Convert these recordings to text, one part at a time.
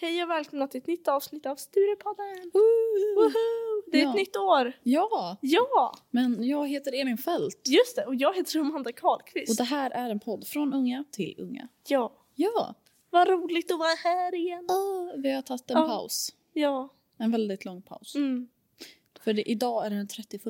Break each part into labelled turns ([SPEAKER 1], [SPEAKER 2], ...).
[SPEAKER 1] Hej och välkomna till ett nytt avsnitt av Sturepodden! Woho! Det är
[SPEAKER 2] Ja.
[SPEAKER 1] ett nytt år!
[SPEAKER 2] Ja,
[SPEAKER 1] Ja!
[SPEAKER 2] men jag heter Elin Fält
[SPEAKER 1] Just det, och jag heter Amanda Karlqvist.
[SPEAKER 2] och det här är en podd från unga till unga.
[SPEAKER 1] Ja.
[SPEAKER 2] Ja,
[SPEAKER 1] Vad roligt att vara här igen!
[SPEAKER 2] ah, vi har tagit en
[SPEAKER 1] Ja.
[SPEAKER 2] paus.
[SPEAKER 1] Ja,
[SPEAKER 2] En väldigt lång paus.
[SPEAKER 1] mm,
[SPEAKER 2] För det, idag är det den 31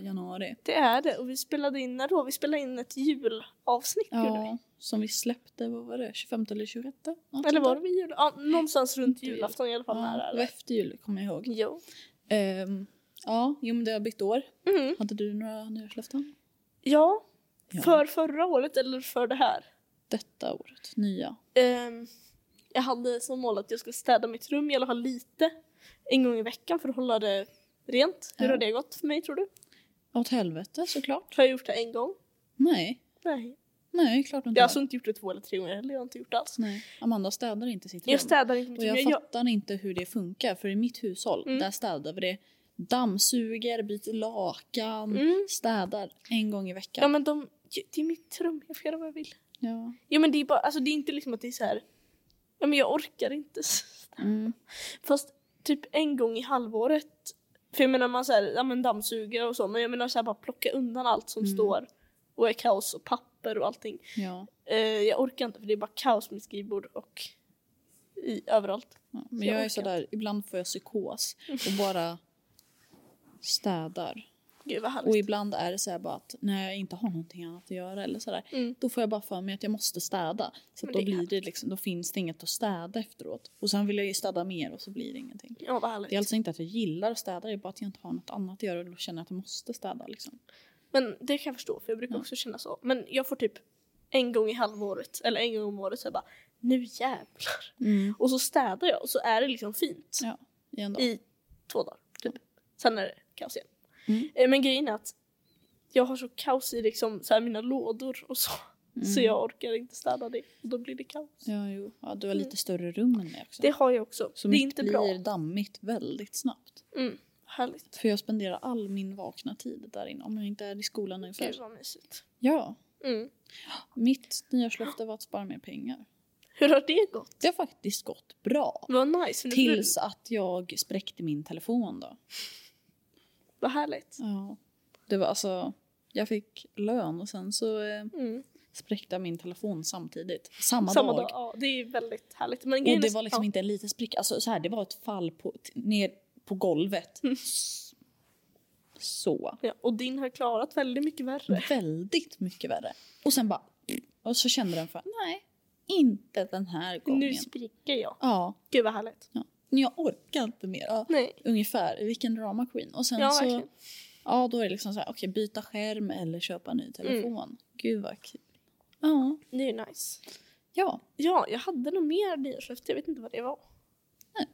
[SPEAKER 2] januari.
[SPEAKER 1] det är det. Och vi spelade in, när då? Vi spelade in ett julavsnitt gjorde vi.
[SPEAKER 2] Ja, som vi släppte, vad var det, 25 eller 21? Något
[SPEAKER 1] Eller
[SPEAKER 2] sånt
[SPEAKER 1] var
[SPEAKER 2] där.
[SPEAKER 1] det vid jul? Ja, någonstans runt
[SPEAKER 2] Inte jul.
[SPEAKER 1] julafton i alla fall.
[SPEAKER 2] Ja,
[SPEAKER 1] nära
[SPEAKER 2] det var
[SPEAKER 1] det.
[SPEAKER 2] efter jul, kommer jag ihåg.
[SPEAKER 1] Jo.
[SPEAKER 2] Ehm, ja, jo men det har bytt år.
[SPEAKER 1] Mm.
[SPEAKER 2] Hade du några nyårslöften?
[SPEAKER 1] Ja,
[SPEAKER 2] Ja.
[SPEAKER 1] för förra året eller för det här?
[SPEAKER 2] Detta året, nya.
[SPEAKER 1] Ehm, jag hade som mål att jag skulle städa mitt rum i alla fall lite en gång i veckan för att hålla det rent. Hur
[SPEAKER 2] Ja.
[SPEAKER 1] har det gått för mig tror du?
[SPEAKER 2] Åt helvete såklart.
[SPEAKER 1] Har jag gjort det en gång?
[SPEAKER 2] Nej,
[SPEAKER 1] Nej.
[SPEAKER 2] nej klart du inte
[SPEAKER 1] Jag har
[SPEAKER 2] har.
[SPEAKER 1] alltså inte gjort det två eller tre gånger heller. Jag har inte gjort det alls.
[SPEAKER 2] Nej, Amanda städar inte sitt
[SPEAKER 1] Jag städar inte mitt
[SPEAKER 2] Och
[SPEAKER 1] rum.
[SPEAKER 2] jag
[SPEAKER 1] Jag gör-
[SPEAKER 2] fattar inte hur det funkar för i mitt hushåll
[SPEAKER 1] Mm.
[SPEAKER 2] där städar vi det dammsuger, byter lakan,
[SPEAKER 1] Mm.
[SPEAKER 2] städar en gång i veckan.
[SPEAKER 1] Ja men de, det är mitt rum. Jag får göra vad jag vill.
[SPEAKER 2] Ja.
[SPEAKER 1] Ja men det är bara, alltså det är inte liksom att det är så här. Ja men jag orkar inte.
[SPEAKER 2] Mm.
[SPEAKER 1] Fast typ en gång i halvåret. För jag menar man så här, ja men dammsuger och så. Men jag menar så här bara plocka undan allt som
[SPEAKER 2] Mm.
[SPEAKER 1] står. Och är kaos och papper och allting.
[SPEAKER 2] Ja.
[SPEAKER 1] Eh, jag orkar inte för det är bara kaos med skrivbord och i, överallt.
[SPEAKER 2] ja.
[SPEAKER 1] Så
[SPEAKER 2] Men
[SPEAKER 1] jag
[SPEAKER 2] jag är
[SPEAKER 1] orkar
[SPEAKER 2] sådär, ibland får jag psykos
[SPEAKER 1] Mm.
[SPEAKER 2] och bara städar.
[SPEAKER 1] Gud vad härligt.
[SPEAKER 2] Och ibland är det så här bara att när jag inte har någonting annat att göra eller sådär.
[SPEAKER 1] Mm.
[SPEAKER 2] Då får jag bara för mig att jag måste städa. Så
[SPEAKER 1] Men
[SPEAKER 2] att då,
[SPEAKER 1] det är
[SPEAKER 2] blir det
[SPEAKER 1] härligt.
[SPEAKER 2] liksom, då finns det inget att städa efteråt. Och sen vill jag ju städa mer och så blir det ingenting.
[SPEAKER 1] Ja vad härligt.
[SPEAKER 2] Det är alltså inte att jag gillar att städa, det är bara att jag inte har något annat att göra och då känner jag att jag måste städa. Liksom.
[SPEAKER 1] Men det kan jag förstå för jag brukar
[SPEAKER 2] Ja.
[SPEAKER 1] också känna så. Men jag får typ en gång i halvåret eller en gång om året så jag bara nu jävlar. Och så städar jag och så är det liksom fint
[SPEAKER 2] Ja, i en dag.
[SPEAKER 1] Mm. i två dagar typ. Sen är det kaos igen.
[SPEAKER 2] Mm.
[SPEAKER 1] Eh, Men grejen är att jag har så kaos i liksom så här mina lådor och så.
[SPEAKER 2] Mm.
[SPEAKER 1] Så jag orkar inte städa det och då blir det kaos.
[SPEAKER 2] Ja, jo. ja, du har
[SPEAKER 1] Mm.
[SPEAKER 2] lite större rum än mig också.
[SPEAKER 1] Det har jag också.
[SPEAKER 2] så
[SPEAKER 1] det är
[SPEAKER 2] mitt
[SPEAKER 1] inte
[SPEAKER 2] blir
[SPEAKER 1] bra.
[SPEAKER 2] dammigt väldigt snabbt.
[SPEAKER 1] Mm. Härligt.
[SPEAKER 2] För jag spenderar all min vakna tid där inne om jag inte är i skolan ungefär.
[SPEAKER 1] Gud vad mysigt.
[SPEAKER 2] Ja,
[SPEAKER 1] Mm.
[SPEAKER 2] mitt nyårslöfte var att spara mer pengar.
[SPEAKER 1] Hur har det gått?
[SPEAKER 2] Det har faktiskt gått bra.
[SPEAKER 1] Vad nice. för nu blir
[SPEAKER 2] Tills att jag spräckte min telefon då.
[SPEAKER 1] det- Vad härligt.
[SPEAKER 2] Ja. Det var alltså, jag fick lön och sen så eh,
[SPEAKER 1] Mm.
[SPEAKER 2] spräckte jag min telefon samtidigt. Samma,
[SPEAKER 1] Samma
[SPEAKER 2] dag.
[SPEAKER 1] dag. Ja, det är väldigt härligt. Men
[SPEAKER 2] Och
[SPEAKER 1] grejen
[SPEAKER 2] det
[SPEAKER 1] är-
[SPEAKER 2] var liksom
[SPEAKER 1] ja.
[SPEAKER 2] inte en liten spricka. Alltså så här, det var ett fall på, t- ner på golvet.
[SPEAKER 1] Mm.
[SPEAKER 2] Så.
[SPEAKER 1] Ja, och din har klarat väldigt mycket värre.
[SPEAKER 2] Väldigt mycket värre. Och sen bara... Och så kände den för nej, inte den här
[SPEAKER 1] Nu
[SPEAKER 2] gången.
[SPEAKER 1] spricker jag.
[SPEAKER 2] Ja,
[SPEAKER 1] Gud vad härligt.
[SPEAKER 2] jag orkar inte mer. Ja,
[SPEAKER 1] Nej.
[SPEAKER 2] ungefär, vilken drama queen. Och sen
[SPEAKER 1] Ja,
[SPEAKER 2] så,
[SPEAKER 1] verkligen.
[SPEAKER 2] ja, då är det liksom så här, okej, byta skärm eller köpa
[SPEAKER 1] Mm.
[SPEAKER 2] en ny telefon. Gud vad kul. Ja,
[SPEAKER 1] Det är ju nice.
[SPEAKER 2] ja.
[SPEAKER 1] Ja, jag hade nog mer nyårslöfte. Jag vet inte vad det var.
[SPEAKER 2] Nej.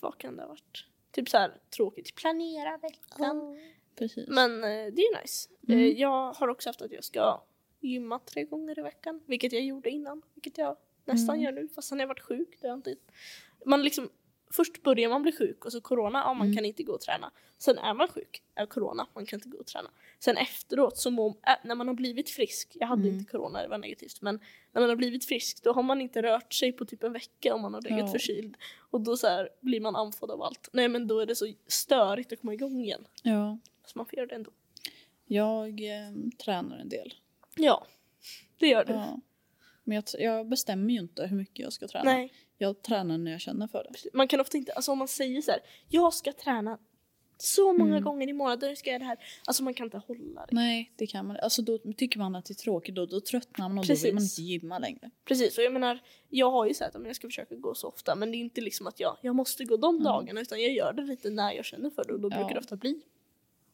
[SPEAKER 1] Vad kan det ha varit? Typ så här tråkigt. Planera veckan.
[SPEAKER 2] precis.
[SPEAKER 1] Men eh, det är ju nice.
[SPEAKER 2] Mm.
[SPEAKER 1] Eh, jag har också haft att jag ska gymma tre gånger i veckan. Vilket jag gjorde innan. Vilket jag nästan
[SPEAKER 2] Mm.
[SPEAKER 1] gör nu. Fast sen har jag varit sjuk. Det har jag inte... Man liksom, först börjar man bli sjuk och så corona, ja man
[SPEAKER 2] Mm.
[SPEAKER 1] kan inte gå och träna. Sen är man sjuk, är corona, man kan inte gå och träna. Sen efteråt så mår, äh, när man har blivit frisk, jag hade
[SPEAKER 2] Mm.
[SPEAKER 1] inte corona det var negativt men när man har blivit frisk då har man inte rört sig på typ en vecka om man har legat
[SPEAKER 2] Ja.
[SPEAKER 1] förkyld. Och då så här, blir man andfådd av allt. Nej men då är det så störigt att komma igång igen.
[SPEAKER 2] Ja,
[SPEAKER 1] Så man får göra det ändå.
[SPEAKER 2] jag eh, tränar en del.
[SPEAKER 1] Ja, det gör du.
[SPEAKER 2] Ja. Men jag, t- jag bestämmer ju inte hur mycket jag ska träna.
[SPEAKER 1] Nej,
[SPEAKER 2] Jag tränar när jag känner för det.
[SPEAKER 1] man kan ofta inte, alltså om man säger så här, jag ska träna så många
[SPEAKER 2] Mm.
[SPEAKER 1] gånger i månaden ska jag göra det här. Alltså man kan inte hålla det.
[SPEAKER 2] Nej, det kan man Alltså då tycker man att det är tråkigt och då tröttnar man och då
[SPEAKER 1] Precis.
[SPEAKER 2] vill man inte gymma längre.
[SPEAKER 1] Precis, och jag menar, jag har ju sagt att jag ska försöka gå så ofta men det är inte liksom att jag, jag måste gå de
[SPEAKER 2] Mm.
[SPEAKER 1] dagarna utan jag gör det lite när jag känner för det och då brukar
[SPEAKER 2] Ja.
[SPEAKER 1] det ofta bli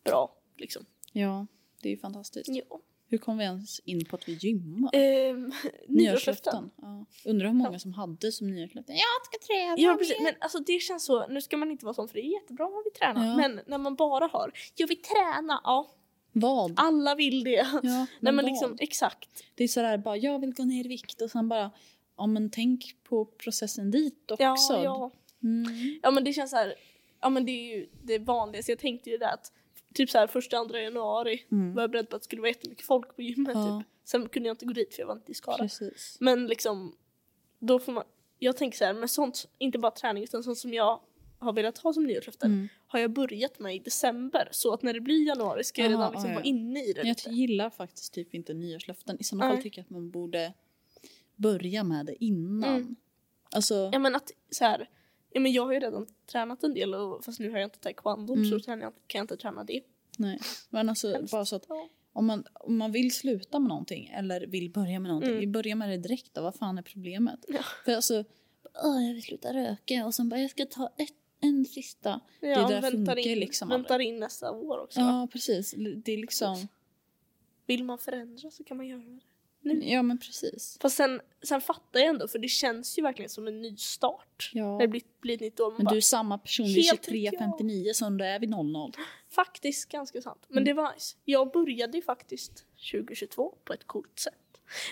[SPEAKER 1] bra. Liksom.
[SPEAKER 2] Ja, det är ju fantastiskt.
[SPEAKER 1] Ja.
[SPEAKER 2] Hur kom vi ens in på att vi gymmar?
[SPEAKER 1] Ehm, nyårslöften.
[SPEAKER 2] Ja. Undrar hur många som hade som nyårslöften. Jag ska träna
[SPEAKER 1] Ja precis, men alltså det känns så, nu ska man inte vara sån för det är jättebra om man vill träna
[SPEAKER 2] Ja.
[SPEAKER 1] men när man bara har, jag vill träna, ja
[SPEAKER 2] Vad?
[SPEAKER 1] alla vill det.
[SPEAKER 2] Ja,
[SPEAKER 1] Nej men
[SPEAKER 2] vad?
[SPEAKER 1] liksom exakt.
[SPEAKER 2] Det är sådär bara, jag vill gå ner i vikt och sen bara, ja men tänk på processen dit också.
[SPEAKER 1] Ja, ja.
[SPEAKER 2] Mm.
[SPEAKER 1] ja men det känns så här, ja men det är ju det vanligaste. Jag tänkte ju det att typ så här första, andra januari
[SPEAKER 2] Mm.
[SPEAKER 1] var jag beredd på att det skulle vara jättemycket folk på gymmet
[SPEAKER 2] Ja.
[SPEAKER 1] typ. Sen kunde jag inte gå dit för jag var inte i Skara.
[SPEAKER 2] Precis.
[SPEAKER 1] Men liksom, då får man, jag tänker så här, men sånt, inte bara träning utan sånt som jag har velat ha som nyårslöften
[SPEAKER 2] Mm.
[SPEAKER 1] har jag börjat med i december så att när det blir januari ska jag
[SPEAKER 2] Aha,
[SPEAKER 1] redan liksom
[SPEAKER 2] ja, ja.
[SPEAKER 1] vara inne i det
[SPEAKER 2] Jag
[SPEAKER 1] lite.
[SPEAKER 2] gillar faktiskt typ inte nyårslöften. I sådana fall
[SPEAKER 1] Nej.
[SPEAKER 2] tycker jag att man borde börja med det innan.
[SPEAKER 1] Mm.
[SPEAKER 2] Alltså,
[SPEAKER 1] Ja men att så här, ja, men jag har ju redan tränat en del och, fast nu har jag inte taekwondo
[SPEAKER 2] Mm.
[SPEAKER 1] så tränar jag, kan jag inte träna det.
[SPEAKER 2] nej. Men alltså,
[SPEAKER 1] Hemskt.
[SPEAKER 2] bara så att
[SPEAKER 1] Ja.
[SPEAKER 2] om man, om man vill sluta med någonting eller vill börja med någonting,
[SPEAKER 1] Mm.
[SPEAKER 2] börja med det direkt då. Vad fan är problemet?
[SPEAKER 1] Ja.
[SPEAKER 2] För alltså, "Åh, jag vill sluta röka och sen bara jag ska ta ett, en sista.
[SPEAKER 1] Ja,
[SPEAKER 2] där
[SPEAKER 1] väntar
[SPEAKER 2] funkar
[SPEAKER 1] in,
[SPEAKER 2] liksom
[SPEAKER 1] Väntar in nästa år också. va?
[SPEAKER 2] Ja, precis. Det är liksom...
[SPEAKER 1] Vill man förändra så kan man göra det. Mm.
[SPEAKER 2] Ja, men precis.
[SPEAKER 1] Fast sen, sen fattar jag ändå för det känns ju verkligen som en ny start.
[SPEAKER 2] Ja.
[SPEAKER 1] När det blir, blir ett nytt år. Man
[SPEAKER 2] Men
[SPEAKER 1] bara,
[SPEAKER 2] du är samma person vid
[SPEAKER 1] Helt nytt jag.
[SPEAKER 2] 23.59 som du är vid 00.
[SPEAKER 1] Faktiskt ganska sant. Men det var nice. Jag började ju faktiskt 2022 på ett coolt sätt.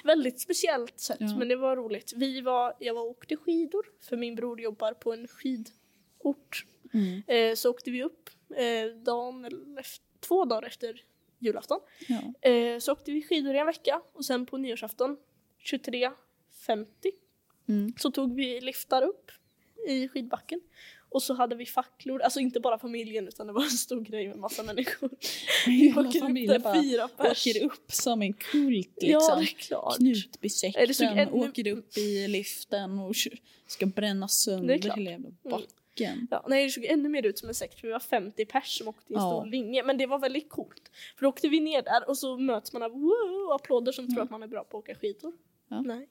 [SPEAKER 1] Väldigt speciellt sätt
[SPEAKER 2] Ja.
[SPEAKER 1] men det var roligt. Vi var, jag var och åkte skidor för min bror jobbar på en skidort.
[SPEAKER 2] Mm.
[SPEAKER 1] Eh, så åkte vi upp eh, dagen, eller efter, två dagar efter julafton.
[SPEAKER 2] Ja.
[SPEAKER 1] Eh, så åkte vi skidor i en vecka och sen på nyårsafton 23.50
[SPEAKER 2] Mm.
[SPEAKER 1] så tog vi liftar upp i skidbacken. Och så hade vi facklor, alltså inte bara familjen utan det var en stor grej med massa människor. Vi
[SPEAKER 2] Hela
[SPEAKER 1] åker upp där,
[SPEAKER 2] familjen bara
[SPEAKER 1] fyra pers.
[SPEAKER 2] åker upp som en kult
[SPEAKER 1] Ja,
[SPEAKER 2] liksom.
[SPEAKER 1] det är klart.
[SPEAKER 2] Knutby
[SPEAKER 1] Är det så- är det-
[SPEAKER 2] åker upp i liften och kö- ska bränna
[SPEAKER 1] Det är
[SPEAKER 2] sönder
[SPEAKER 1] klart.
[SPEAKER 2] hela jävla
[SPEAKER 1] Mm.
[SPEAKER 2] backen.
[SPEAKER 1] Ja, nej, det såg ännu mer ut som en sekt för vi var 50 pers som åkte i en
[SPEAKER 2] Ja.
[SPEAKER 1] stor linje. Men det var väldigt coolt. För då åkte vi ner där och så möts man av wow, applåder som tror att man är bra på att åka skidor.
[SPEAKER 2] Mm. Ja.
[SPEAKER 1] Nej.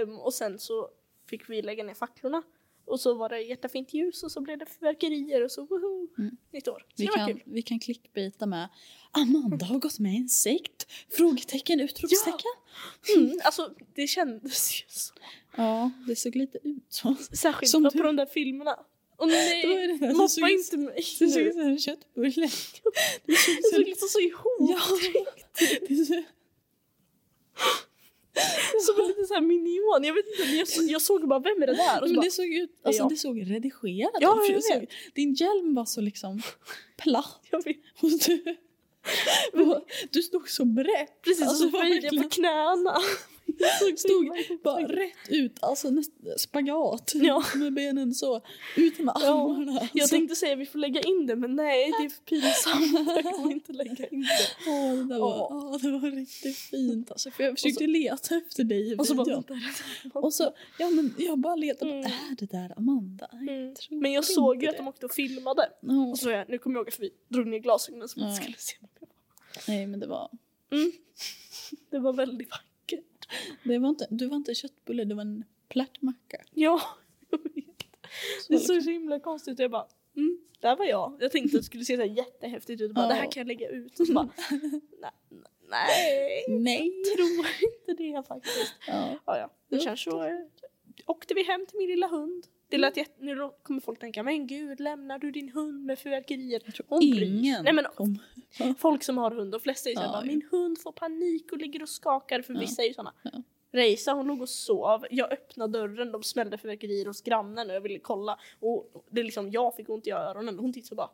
[SPEAKER 1] Ehm, och sen så fick vi lägga ner facklorna. Och så var det jättefint ljus och så blev det fyrverkerier och så woho,
[SPEAKER 2] Mm.
[SPEAKER 1] nytt år. Så
[SPEAKER 2] Vi
[SPEAKER 1] det var
[SPEAKER 2] kan,
[SPEAKER 1] kul.
[SPEAKER 2] vi kan klickbita med Amanda har gått med i en sekt? Frågetecken, utropstecken.
[SPEAKER 1] Mm, alltså det kändes ju så.
[SPEAKER 2] Ja. det såg lite ut så.
[SPEAKER 1] Särskilt
[SPEAKER 2] Som
[SPEAKER 1] på
[SPEAKER 2] du.
[SPEAKER 1] de där filmerna. Åh
[SPEAKER 2] Det var
[SPEAKER 1] nej,
[SPEAKER 2] ju det där som såg
[SPEAKER 1] mobba
[SPEAKER 2] ut-
[SPEAKER 1] inte mig
[SPEAKER 2] Det såg
[SPEAKER 1] nu.
[SPEAKER 2] ut som en köttbulle.
[SPEAKER 1] Jag såg liksom så ihop.
[SPEAKER 2] Ja, det såg-
[SPEAKER 1] Som en liten så här minion. Jag, vet inte, men jag, så- jag såg bara vem är det där? Och så
[SPEAKER 2] Men
[SPEAKER 1] bara,
[SPEAKER 2] det såg ut, alltså
[SPEAKER 1] Ja.
[SPEAKER 2] det såg redigerat ut.
[SPEAKER 1] Ja,
[SPEAKER 2] för
[SPEAKER 1] jag
[SPEAKER 2] det såg-
[SPEAKER 1] vet.
[SPEAKER 2] Din hjälm var så liksom platt.
[SPEAKER 1] jag vet.
[SPEAKER 2] Och du, och du stod så brett.
[SPEAKER 1] Precis,
[SPEAKER 2] Alltså,
[SPEAKER 1] och så typ böjde jag på
[SPEAKER 2] verkligen.
[SPEAKER 1] knäna. Jag
[SPEAKER 2] Stod
[SPEAKER 1] filmen.
[SPEAKER 2] bara rätt ut, alltså näst, spagat
[SPEAKER 1] Ja.
[SPEAKER 2] med benen så. Ut med
[SPEAKER 1] Ja.
[SPEAKER 2] armarna.
[SPEAKER 1] Jag
[SPEAKER 2] alltså.
[SPEAKER 1] tänkte säga vi får lägga in det men nej det är för pinsamt. Jag kommer inte lägga in det.
[SPEAKER 2] Åh, det, där var,
[SPEAKER 1] Ja.
[SPEAKER 2] åh, det var riktigt fint. Alltså, för jag försökte leta efter dig i
[SPEAKER 1] Och så bara,
[SPEAKER 2] videon. Och så, ja men jag bara letade.
[SPEAKER 1] Mm.
[SPEAKER 2] Är det där Amanda? Jag
[SPEAKER 1] Mm.
[SPEAKER 2] tror
[SPEAKER 1] Men jag
[SPEAKER 2] inte
[SPEAKER 1] såg ju att
[SPEAKER 2] det.
[SPEAKER 1] de åkte och filmade.
[SPEAKER 2] Ja,
[SPEAKER 1] Och så jag, nu kommer jag ihåg att vi drog ner glasögonen så man
[SPEAKER 2] Ja.
[SPEAKER 1] inte skulle se.
[SPEAKER 2] nej men det var,
[SPEAKER 1] Det var väldigt vackert.
[SPEAKER 2] det var inte, du var inte en köttbulle, du var en plärtmacka.
[SPEAKER 1] Ja,
[SPEAKER 2] Så
[SPEAKER 1] det såg så himla konstigt ut. Jag bara, mm, där var jag. Jag tänkte att det skulle se så här jättehäftigt ut. Bara,
[SPEAKER 2] Ja.
[SPEAKER 1] Det här kan jag lägga ut. Och så bara, nej, nej.
[SPEAKER 2] Nej.
[SPEAKER 1] Jag tror inte det faktiskt.
[SPEAKER 2] Ja.
[SPEAKER 1] Ja, ja.
[SPEAKER 2] Ja.
[SPEAKER 1] Och sen så eh, åkte vi hem till min lilla hund. Det lät
[SPEAKER 2] Mm.
[SPEAKER 1] jätte... Nu lå- kommer folk tänka, men gud lämnar du din hund med fyrverkerier? Hon bryr sig.
[SPEAKER 2] Ingen
[SPEAKER 1] Nej, men,
[SPEAKER 2] kom.
[SPEAKER 1] Folk som har hund, de flesta är såhär,
[SPEAKER 2] Ja,
[SPEAKER 1] bara,
[SPEAKER 2] jo.
[SPEAKER 1] min hund får panik och ligger och skakar för
[SPEAKER 2] Ja.
[SPEAKER 1] vissa är ju såna.
[SPEAKER 2] Ja.
[SPEAKER 1] Reisa hon låg och sov, jag öppnade dörren, de smällde fyrverkerier hos grannen och jag ville kolla. Och det är liksom, jag fick ont i öronen och hon tittade så bara,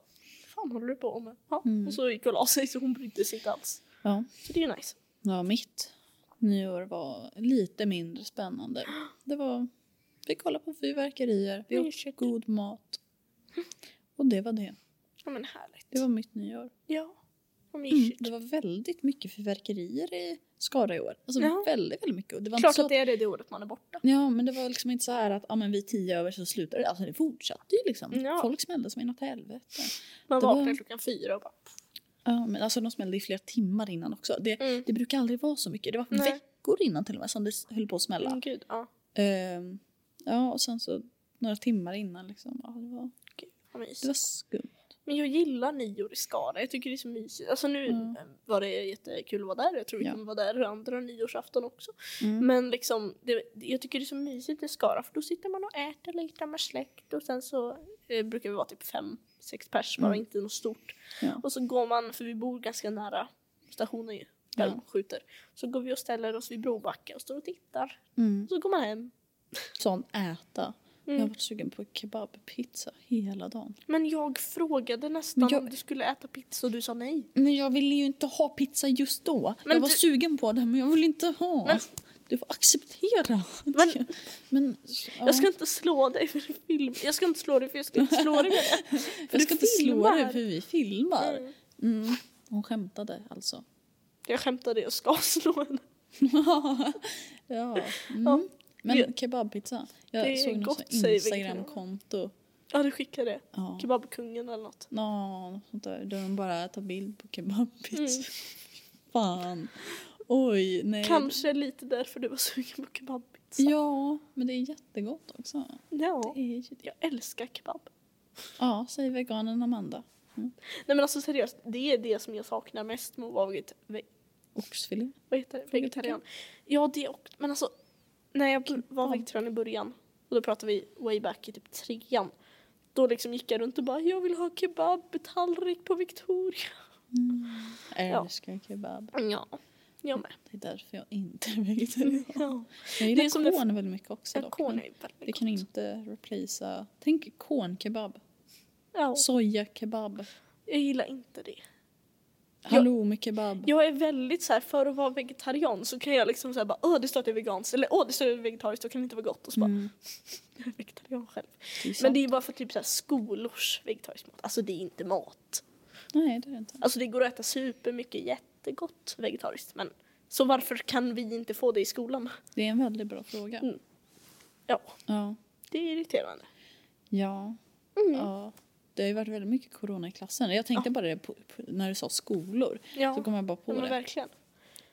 [SPEAKER 1] fan håller du på med? Ja.
[SPEAKER 2] Mm.
[SPEAKER 1] Och så gick hon och la sig så hon brydde sig inte alls.
[SPEAKER 2] Ja.
[SPEAKER 1] Så det är ju nice.
[SPEAKER 2] ja, mitt nyår var lite mindre spännande. Det var, vi kollade på fyrverkerier, vi åt
[SPEAKER 1] Mysigt.
[SPEAKER 2] god mat. Och det var det.
[SPEAKER 1] Ja men härligt.
[SPEAKER 2] Det var mitt nyår.
[SPEAKER 1] Ja, vad
[SPEAKER 2] Mm.
[SPEAKER 1] mysigt.
[SPEAKER 2] Det var väldigt mycket fyrverkerier i Skara i år. Alltså
[SPEAKER 1] Ja.
[SPEAKER 2] väldigt, väldigt mycket. Och Det var inte
[SPEAKER 1] Klart
[SPEAKER 2] så
[SPEAKER 1] att det är det, det året man är borta.
[SPEAKER 2] Ja, men det var liksom inte så här att ah, men vi är tio över så slutar det. Alltså det fortsatte ju liksom.
[SPEAKER 1] Ja.
[SPEAKER 2] Folk smällde som inåt helvete.
[SPEAKER 1] Man
[SPEAKER 2] Det var-
[SPEAKER 1] vaknar klockan fyra och bara...
[SPEAKER 2] Ja, men alltså de smällde i flera timmar innan också. Det,
[SPEAKER 1] Mm.
[SPEAKER 2] det brukar aldrig vara så mycket. Det var
[SPEAKER 1] Nej.
[SPEAKER 2] veckor innan till och med som det s- höll på att smälla.
[SPEAKER 1] Mm, gud, ja.
[SPEAKER 2] Ehm, ja, och sen så några timmar innan liksom. Ja, det, var,
[SPEAKER 1] Gud, vad mysigt.
[SPEAKER 2] det var skumt.
[SPEAKER 1] Men jag gillar nyår i Skara. Jag tycker det är så mysigt. Alltså nu
[SPEAKER 2] Mm.
[SPEAKER 1] eh, var det jättekul att vara där. Jag tror vi
[SPEAKER 2] Ja.
[SPEAKER 1] kommer vara där andra nyårsafton också.
[SPEAKER 2] Mm.
[SPEAKER 1] Men liksom, det, jag tycker det är så mysigt i Skara för då sitter man och äter lite med släkt och sen så eh, brukar vi vara typ fem, sex pers bara,
[SPEAKER 2] Mm.
[SPEAKER 1] inte något stort.
[SPEAKER 2] Ja.
[SPEAKER 1] Och så går man, för vi bor ganska nära stationen ju, där
[SPEAKER 2] Ja.
[SPEAKER 1] de skjuter. Så går vi och ställer oss vid Brobacken och står och tittar.
[SPEAKER 2] Mm.
[SPEAKER 1] Och så går man hem.
[SPEAKER 2] Sån äta. Jag har
[SPEAKER 1] Mm.
[SPEAKER 2] varit sugen på kebabpizza hela dagen.
[SPEAKER 1] Men jag frågade nästan
[SPEAKER 2] jag-
[SPEAKER 1] om du skulle äta pizza och du sa nej.
[SPEAKER 2] Men jag ville ju inte ha pizza just då.
[SPEAKER 1] Men
[SPEAKER 2] jag var
[SPEAKER 1] du-
[SPEAKER 2] sugen på det men jag ville inte ha.
[SPEAKER 1] Men
[SPEAKER 2] Du får acceptera.
[SPEAKER 1] Men-
[SPEAKER 2] Men, ja.
[SPEAKER 1] Jag ska inte slå dig för film. Jag ska inte slå dig för jag ska inte slå dig med det.
[SPEAKER 2] jag ska
[SPEAKER 1] du
[SPEAKER 2] inte slå
[SPEAKER 1] filmar.
[SPEAKER 2] dig för vi filmar.
[SPEAKER 1] Mm.
[SPEAKER 2] Mm. Hon skämtade alltså.
[SPEAKER 1] Jag skämtade, jag ska slå henne.
[SPEAKER 2] ja.
[SPEAKER 1] Ja.
[SPEAKER 2] Mm. Men
[SPEAKER 1] Det-
[SPEAKER 2] kebabpizza.
[SPEAKER 1] det
[SPEAKER 2] Jag
[SPEAKER 1] är
[SPEAKER 2] såg något
[SPEAKER 1] gott, säger vi.
[SPEAKER 2] Instagramkonto.
[SPEAKER 1] Ja, du skickade det.
[SPEAKER 2] Ja.
[SPEAKER 1] Kebabkungen eller något.
[SPEAKER 2] Ja, något sånt där. Där de bara tar bild på kebabpizza.
[SPEAKER 1] Mm.
[SPEAKER 2] Fan. Oj, nej.
[SPEAKER 1] Kanske lite därför du var sugen på kebabpizza.
[SPEAKER 2] Eh, Ja, men det är jättegott också.
[SPEAKER 1] Ja.
[SPEAKER 2] Det är ju det.
[SPEAKER 1] Jag älskar kebab.
[SPEAKER 2] Ja, säger veganen Amanda.
[SPEAKER 1] Nej men alltså seriöst, det är det som jag saknar mest med att vara veget- ve-
[SPEAKER 2] Oxfilé.
[SPEAKER 1] vad heter det?
[SPEAKER 2] Frågetecken.
[SPEAKER 1] vegetarian. Ja det och, men alltså när jag var
[SPEAKER 2] Ja.
[SPEAKER 1] vegetarian i början och då pratade vi way back i typ trean. Då liksom gick jag runt och bara jag vill ha kebab, tallrik på Victoria.
[SPEAKER 2] Jag
[SPEAKER 1] Ja.
[SPEAKER 2] Mm. älskar kebab.
[SPEAKER 1] Ja, jag med.
[SPEAKER 2] Det är därför jag inte är vegetarian.
[SPEAKER 1] Ja.
[SPEAKER 2] Jag
[SPEAKER 1] Mm. Det
[SPEAKER 2] gillar
[SPEAKER 1] är som det-
[SPEAKER 2] korn väldigt mycket också dock.
[SPEAKER 1] Korn
[SPEAKER 2] men
[SPEAKER 1] är ju
[SPEAKER 2] Det
[SPEAKER 1] väldigt
[SPEAKER 2] kan
[SPEAKER 1] gott.
[SPEAKER 2] inte replacea. Tänk kornkebab.
[SPEAKER 1] Ja,
[SPEAKER 2] Sojakebab.
[SPEAKER 1] jag gillar inte det.
[SPEAKER 2] Halloumikebab.
[SPEAKER 1] Jag är väldigt så här, för att vara vegetarian så kan jag liksom säga bara åh det står att det är veganskt eller åh det står att det är vegetariskt då kan det inte vara gott och så bara
[SPEAKER 2] Mm.
[SPEAKER 1] jag är vegetarian själv.
[SPEAKER 2] Det är
[SPEAKER 1] Men det
[SPEAKER 2] sant.
[SPEAKER 1] är ju bara för typ så här, skolors vegetarisk mat. Alltså det är inte mat.
[SPEAKER 2] Nej, det är det inte.
[SPEAKER 1] Alltså det går att äta supermycket jättegott vegetariskt men så varför kan vi inte få det i skolan?
[SPEAKER 2] Det är en väldigt bra fråga.
[SPEAKER 1] Mm. Ja,
[SPEAKER 2] Ja.
[SPEAKER 1] det är irriterande.
[SPEAKER 2] Ja.
[SPEAKER 1] Mm.
[SPEAKER 2] ja. Det har ju varit väldigt mycket corona i klassen. Jag tänkte bara det på, på, när du sa skolor.
[SPEAKER 1] Ja,
[SPEAKER 2] Så kom jag bara på
[SPEAKER 1] men
[SPEAKER 2] det.
[SPEAKER 1] verkligen.